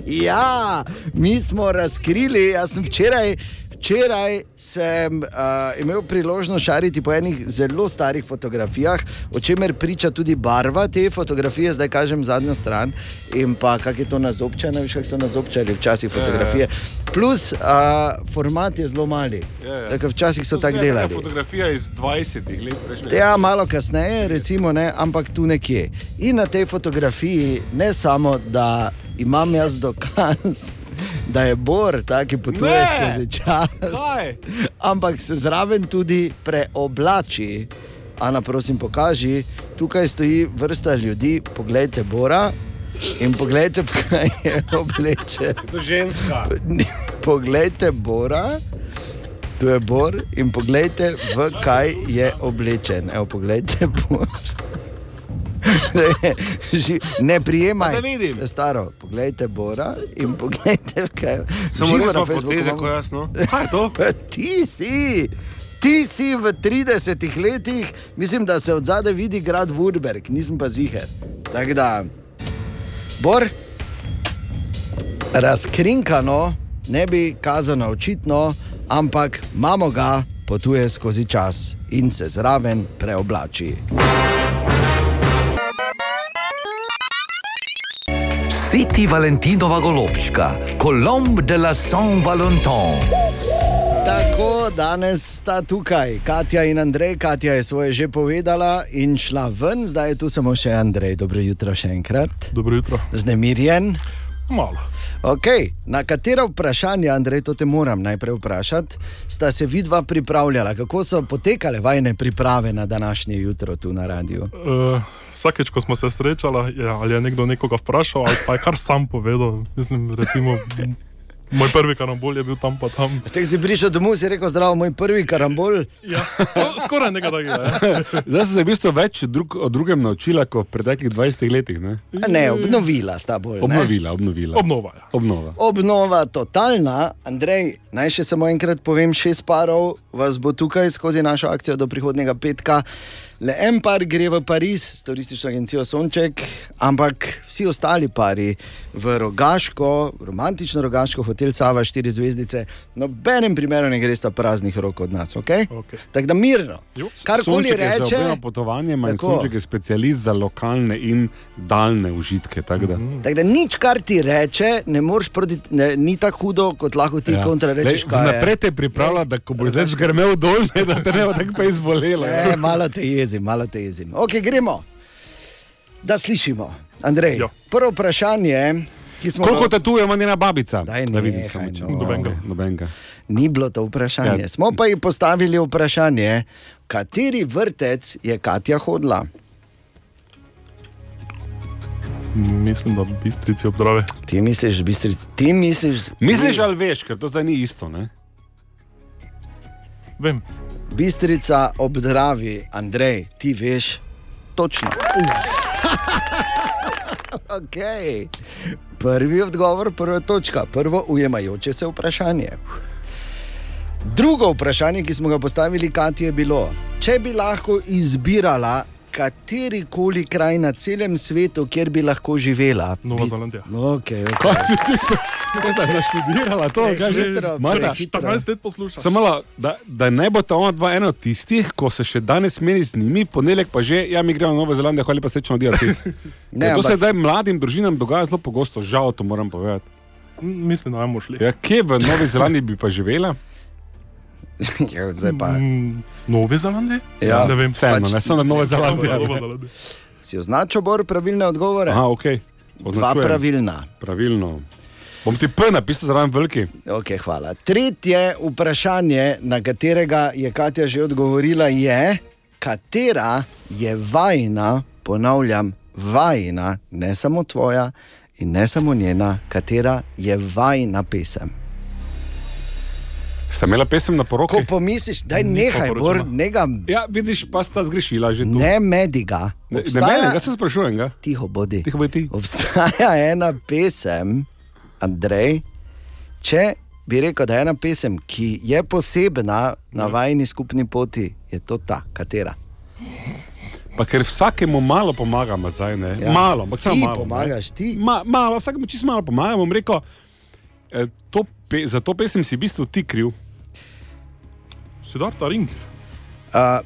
[laughs] ja, mi smo razkrili, jaz sem včeraj. Včeraj sem uh, imel priložnost šariti po enih zelo starih fotografijah, o čemer priča tudi barva te fotografije, zdaj kažem zadnjo stran in pa kako je to nazobčano, veš, kako so nazobčali včasih fotografije. Plus, uh, format je zelo mali.
Ja, ja.
Tako včasih so
To
tako
zgleda taka
delali.
Fotografija iz 20 let prejšnjega.
Ja, malo kasneje, recimo, ne, ampak tu nekje. In na tej fotografiji ne samo, da imam jaz dokaz, [laughs] da je Bor, ta, ki potuje
Ne!
skozi čas, Kaj? [laughs] ampak se zraven tudi preoblači. Ana, prosim, pokaži, tukaj stoji vrsta ljudi, poglejte Bora in poglejte, v kaj je oblečen.
To je ženska.
Poglejte Bora. Tu je Bor in poglejte, v kaj je oblečen. Evo, poglejte, Bor. Ži- ne prijemaj,
Pa da vidim.
To je staro. Poglejte, Bora in poglejte, v kaj je.
Samo
Živo
res
na
ima
Facebooku
poteze,
imamo-
ko jaz,
[laughs]
no. Kaj je to?
Ti si! Ti si v 30 letih, mislim, da se od zadaj vidi grad Vurberg, nisem pa ziger. Tako da, Bor, razkrinkano, ne bi kazano očitno, ampak imamo ga, potuje skozi čas in se zraven preoblači.
Siti Valentinova golobčka, Colombe de la Saint-Valentin.
Tako, danes sta tukaj Katja in Andrej. Katja je svoje že povedala in šla ven, zdaj je tu samo še Andrej. Dobro jutro še enkrat.
Dobro jutro.
Znemirjen.
Malo.
Okay. Na katero vprašanje, Andrej, to te moram najprej vprašati, sta se vidva pripravljala? Kako so potekale vajne priprave na današnje jutro tu na radiju?
Uh, vsakeč, ko smo se srečali, je, ali je nekdo nekoga vprašal, ali pa je kar sam povedal. Mislim, recimo, m, moj prvi karambol je bil tam pa tam.
Tek si prišel domov in si rekel, zdravo, moj prvi karambol.
Ja, skoraj nekaj takega.
Zdaj sem se v bistvu več drug, o drugem naučila kot v preteklih 20 letih. Ne,
Ne, obnovila sta bolj. ne?
Obnovila, obnovila.
Obnova.
Obnova.
Obnova totalna, Andrej, naj še samo enkrat povem, šest parov vas bo tukaj skozi našo akcijo do prihodnega petka. Le en par gre v Pariz s turistično agencijo Sonček, ampak vsi ostali pari v Rogaško, romantično Rogaško, hotel Sava, štiri zvezdice, nobenem primeru ne gresta praznih rok od nas, ok? okay. Tako da mirno, karkoli
Sonček je za
reče.
obrejeno Potovanje ima in
Tako.
sonček je specialist za lokalne in daljne užitke. Tako da.
Tako da nič, kar ti reče, ne moreš proti, ne, ni tako hudo, kot lahko ti ja. kontra rečeš. kaj je.
Naprej te pripravlja, da ko boš zdaj zgrmel dol, ne, da te ne bo tako pa izbolelo.
E,
ja.
malo te jezim, malo te jezim. Ok, gremo. Da slišimo, Andrej. Jo. Prvo vprašanje, ki smo
Koliko
ga-
tatuje ima njena babica?
Daj,
da vidim
nehaj,
samo če.
no. Nobenega.
Okay, Nobenega.
Ni bilo to vprašanje. Ja.
Ja.
Smo pa ji postavili vprašanje, v kateri vrtec je Katja hodila.
Mislim, da bistrici obdrave.
Ti misliš, bistrici, ti misliš.
Misliš ali veš, ker to zdaj ni isto. Ne?
Vem.
Bistrica obdravi, Andrej, ti veš točno. okay. Prvi odgovor, prva točka, prvo ujemajoče se vprašanje. Drugo vprašanje, ki smo ga postavili Kati, je bilo, če bi lahko izbirala kateri koli kraj na celem svetu, kjer bi lahko živela.
Nova Zelandija.
Okay, okay.
Kaj si ti spet? Kaj si naštudirala to? Kaj že?
Prehitro,
Marta,
prehitro.
14 let poslušam.
Samo malo, da, da ne bo ta ona dva ena od tistih, ko se še danes meni z njimi, ponedeljek pa že, ja, mi gremo na Novo Zelandijo, ali pa srečno delati.
[laughs] Ne,
to se
ampak-
zdaj mladim družinam dogaja zelo pogosto, žal to moram povedati.
M, Mislim, da ne bomo šli.
[laughs] Ja, kje v Novi Zelandiji bi pa živela?
[laughs] ja, zdaj pa.
Nove Zelandije?
Ja,
ne vem,
Pač
pač
[laughs]
vseeno, ne, samo na Nove Zelandije.
Nova Zelandija.
Si označil bolj pravilne odgovore?
Aha, ok.
Dva
Označujem.
pravilna.
Pravilno. Bom ti P napisal zraven veliki.
Okay, hvala. Tretje vprašanje, na katerega je Katja že odgovorila, je, katera je vajna, ponavljam, vajna, ne samo tvoja in ne samo njena, katera je vajna pesem.
Ste imela pesem na poroko?
Ko pomisliš, daj
Ni
nehaj,
poporočena.
bor, nega.
Ja, vidiš, pa sta zgrešila že tu.
Ne mediga.
Ne, ne mene, jaz se sprašujem. Ga.
Tiho bodi.
Tiho bodi ti.
Obstaja [laughs] ena pesem, Andrej. Če bi rekel, da je ena pesem, ki je posebna na
Ja.
vajni skupni poti, je to ta, katera.
Pa ker vsakemu malo pomagamo zdaj, ne?
Ja.
Ja. Malo, ampak samo
Ti
malo.
pomagaš, ti.
Ma, malo, vsakemu čisto malo pomagam. Bom rekel, eh, to pe, za to pesem si v bistvu ti kriv.
Sidarta Ring.
Uh,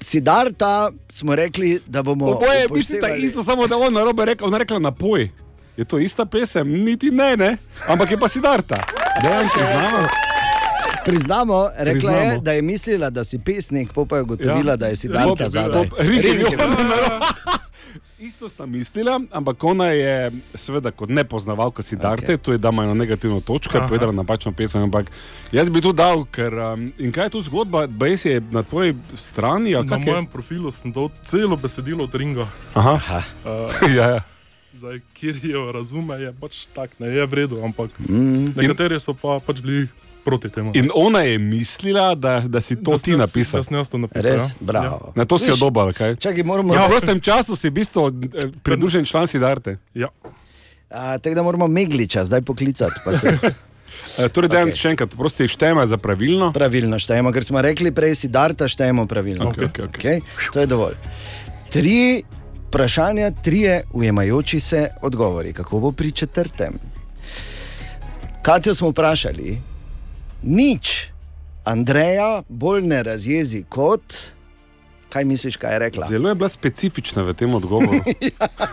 Sidarta smo rekli, da bomo.
Oboje je
upoštevali-
mislite isto, samo da on narobe rekel, ona je rekla napoj. Je to ista pesem, niti ne, ne? ampak je pa si darta. Dejansko znamo.
Priznamo, rekla Priznamo. je,
Priznamo.
da je mislila, da si pesnik, pa pa je ugotovila, ja.
Ja.
da je Sidarta
Bob-
zadaj. no,
Bob- Rinke
Rinke
Jordan
Jordan.
Isto sta mislila, ampak ona je, seveda, kot nepoznavalka si Darte, okay. tu je dama eno negativno točko, je povedala napačno pesem. Ampak jaz bi tu dal, ker. Um, in kaj je tu zgodba, Bejs je na tvoji strani? ali
Na
kako Ja, je?
mojem profilu sem dal celo besedilo od Ringa.
Aha.
Uh,
[laughs] ja, ja.
Zdaj, kjer jo razume, je pač tak, ne je v redu, ampak
Mm.
nekateri so pa, pač bili proti temu.
In ona je mislila, da, da si to
Da
da
sem
ti
jaz-
napisal.
da sem jaz to napisal, Res? ja. Bravo.
Na to si
Viš?
odobal, kaj?
Čakaj, moramo-
Ja, v prostem času si v bistvu eh, pridružen član Sidarte.
Ja.
A, Tako da moramo Megliča zdaj poklicati. pa se-
Torej, danes okay. še enkrat, prosti štejemo za pravilno.
Pravilno štejemo, ker smo rekli prej Sidarta, štejemo pravilno.
Okej, okej,
Okay? To je dovolj. Tri vprašanja, trije ujemajoči se odgovori. Kako bo pri četrtem? Katijo smo vprašali, nič Andreja bolj ne razjezi kot. Kaj misliš, kaj je rekla?
Zelo je bila specifična v tem odgovoru.
Eh,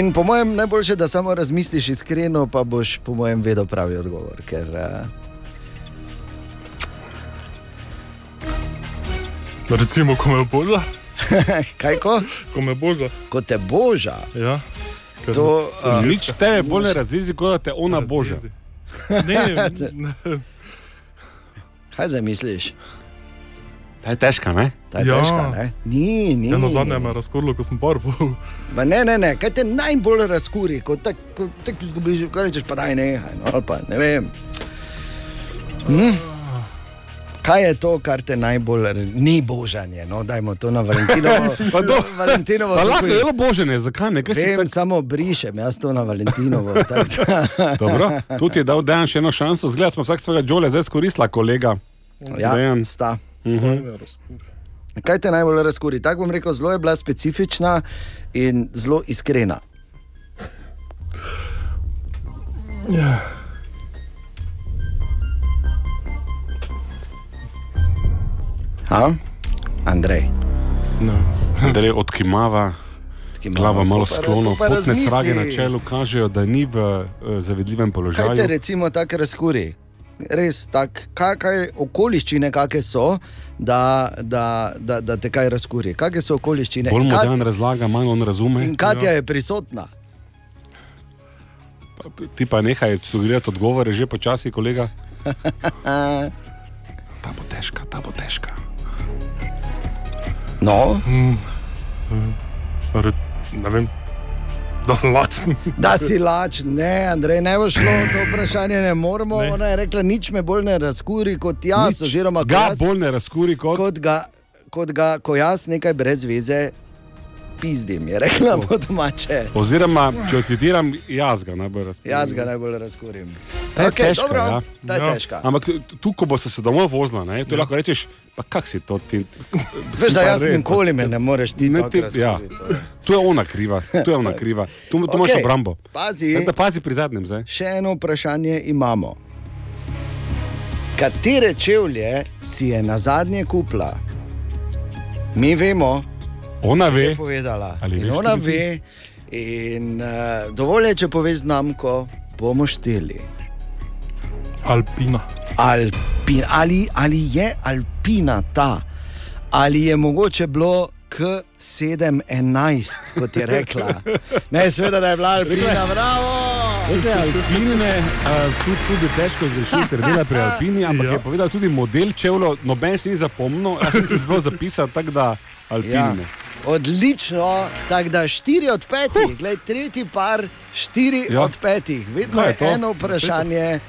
In po mojem, najboljše, da samo razmisliš iskreno, pa boš po mojem vedel pravi odgovor. Ker, uh,
Recimo, ko me boža.
[laughs] Kaj ko?
Ko me boža.
Ko te boža.
Ja. Ker
To, eh,
sem
[laughs]
a,
ženska.
nič tebe bolj [laughs] ne razjezi,
kot da te ona
boža.
Ne,
Kaj zdaj misliš?
Ta je težka, ne?
Ta je ja. težka, ne? Ni, ni.
Eno zadnje me je razkurilo, ko sem barbo.
Ma ne, ne, ne, kaj te najbolj razkuri, ko tako ko tako izgubiš, ko rečeš, pa daj nehaj, no, ali pa ne vem. Hm? Kaj je to, kar te najbolj raz- ni božanje? No, dajmo to na Valentinovo.
[laughs] Pa do-
Valentinovo
Pa
tukaj-
lahko je bilo božanje, zakaj ne? Kaj si
Vem,
tak-
samo brišem, jaz to na Valentinovo. [laughs] tako
Dobro, tudi je dal dejan še eno šanso, zgleda smo vsak svojega džole zdaj skoristila, kolega.
Ja,
Dejan.
sta.
Mhm.
Kaj te najbolj razkuri? Tako bom rekel, zelo je bila specifična in zelo iskrena.
Ja.
Ha? Andrej.
No.
Andrej odkimava. Glava malo
pa-
sklonov,
pa
potne
razmisli.
srage na čelu kažejo, da ni v eh, zavidljivem
Kaj te
položaju.
recimo tako razkuri? Res tako, kaj, kaj okoliščine, kakšne so, da, da, da, da te kaj razkuri. Kakšne so okoliščine?
Bolj Ja.
In
mu
Kat-
dan razlaga, manj on razume.
In Katja je prisotna.
Ja. Ti pa nehaj sugerirati odgovore, že počasi, kolega.
[laughs]
Ta
bo težka, ta bo težka.
No.
Mm, Ne vem, da sem lačen.
Da si lač, ne, Andrej, ne bo šlo, to vprašanje ne moremo. Ne. Ona je rekla, nič me bolj ne razkuri kot jaz.
Nič
oziroma, ko
ga
jaz,
bolj ne razkuri kot,
kot, ga, kot ga, ko jaz nekaj brez veze pizdim, je rekla po domače.
Oziroma, če citiram, jaz ga najbolj razumem.
Jaz ga najbolj razkurim.
Ta je
Okej,
težka,
dobro,
ja.
ta je težka. Ja.
Ampak tu- tu, ko boš se domov vozila, ne, tu lahko rečeš, pa kak si to ti.
Veš, da jaz nikoli me ne moreš ti
Ne,
tako
ti-
razkuriti,
ja. Tu je ona kriva, tu je ona kriva. Tu, tu imaš
Okej,
obrambo.
pazi.
Tako Da pazi pri zadnjem zdaj.
Še eno vprašanje imamo. Katere čevlje si je na zadnje kupla? Mi vemo,
Ona
je
ve.
povedala.
Ali
in
veš
ona
tudi ti?
ve, in uh, dovolj je, če poveš znamko, bomo šteli.
Alpina.
Alpin, ali, ali je Alpina ta ali je mogoče bilo K711, kot je rekla. Ne, seveda, da je bila Alpina, bravo!
Veste, Alpine eh, tudi, tudi težko zgrešiti, ker dela pri Alpini, ampak ja. je povedal tudi model čevljev, noben si ni zapomnil, jaz sem si zelo zapisal, tako da Alpine.
Ja. Odlično, tako da 4 od 5, huh. Glej, tretji par 4 ja.
Ja.
od 5, vedno
Kaj je
je
to?
eno vprašanje,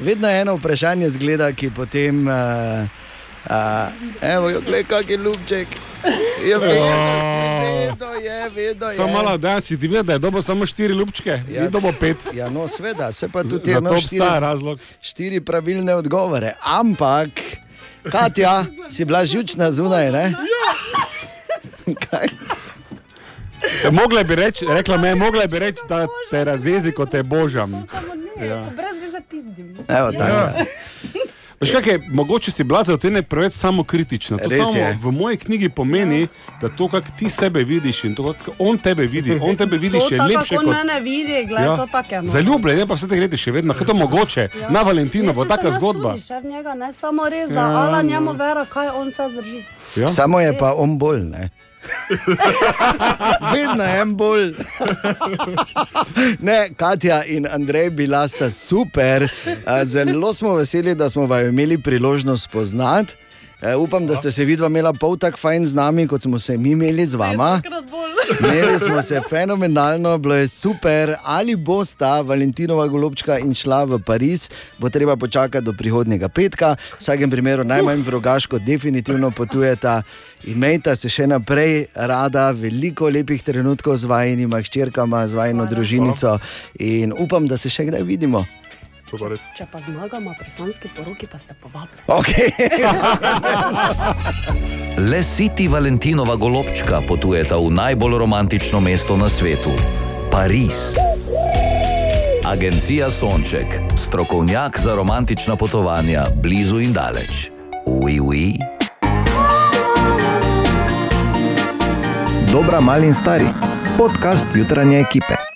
vedno je eno vprašanje zgleda, ki potem. Uh, Uh, evo, jo, gled, kak je ljubček. Je vedno, si, vedno je, vedno je.
Samo malo, da si ti videl, da je dobo samo štiri lupčke, ja. ni dobo pet.
Ja, no, sveda, se pa
Z-
tudi
zato
imel
obstaja razlog.
Štiri pravilne odgovore, ampak, Katja, si bila žučna zunaj, ne? [laughs]
Mogla bi reči, rekla me, mogla bi reči, da te razjezi, ko te božam. Ja.
Brez veze pizdim. Ja.
Evo, tako je.
Veš, kaj je, mogoče si bila zato ne preveč samo kritična. To
Res
samo
je.
v moji knjigi
Ja.
pomeni, da to, kako ti sebe vidiš in to, kako on tebe vidi, on tebe vidi
To
še
tako,
lepše
kako
kot
mene vidi, gled,
Ja.
to tako je. no.
Zaljubljen je pa vse te gledeš še vedno, kako je to mogoče.
Ja.
Na Valentinovo,
Jaz sem se
taka
nas
zgodba.
tudi Še v njega, ne samo res, da
Ja,
ja, ala
no.
njemu vera, kaj on se zdrži.
Ja? Samo je pa on bolj. Ne? Vedno je en bolj. ne, Katja in Andrej bila sta super. Eh, Zelo smo veseli, da smo vaju imeli priložnost spoznati. Eh, Upam, da ste se vidva imela pol tako fajn z nami, kot smo se mi imeli z vama. Imeli smo se fenomenalno, bilo je super. Ali bosta Valentinova golobčka in šla v Pariz, bo treba počakati do prihodnjega petka. V vsakem primeru najmanj v rogaško definitivno potujeta. Imejte se še naprej rada, veliko lepih trenutkov z vajnima hčerkama, z vajno družinico in upam, da se še kdaj vidimo.
To pa res.
Če pa zmagamo pri sanski poroki, pa ste
[laughs]
[laughs]
povabljeni.
Okay.
Le siti Valentinova golobčka potujeta v najbolj romantično mesto na svetu - Pariz. Agencija Sonček, strokovnjak za romantična potovanja blizu in daleč. Ui, ui.
Dobra, mali in stari. Podcast jutranje ekipe.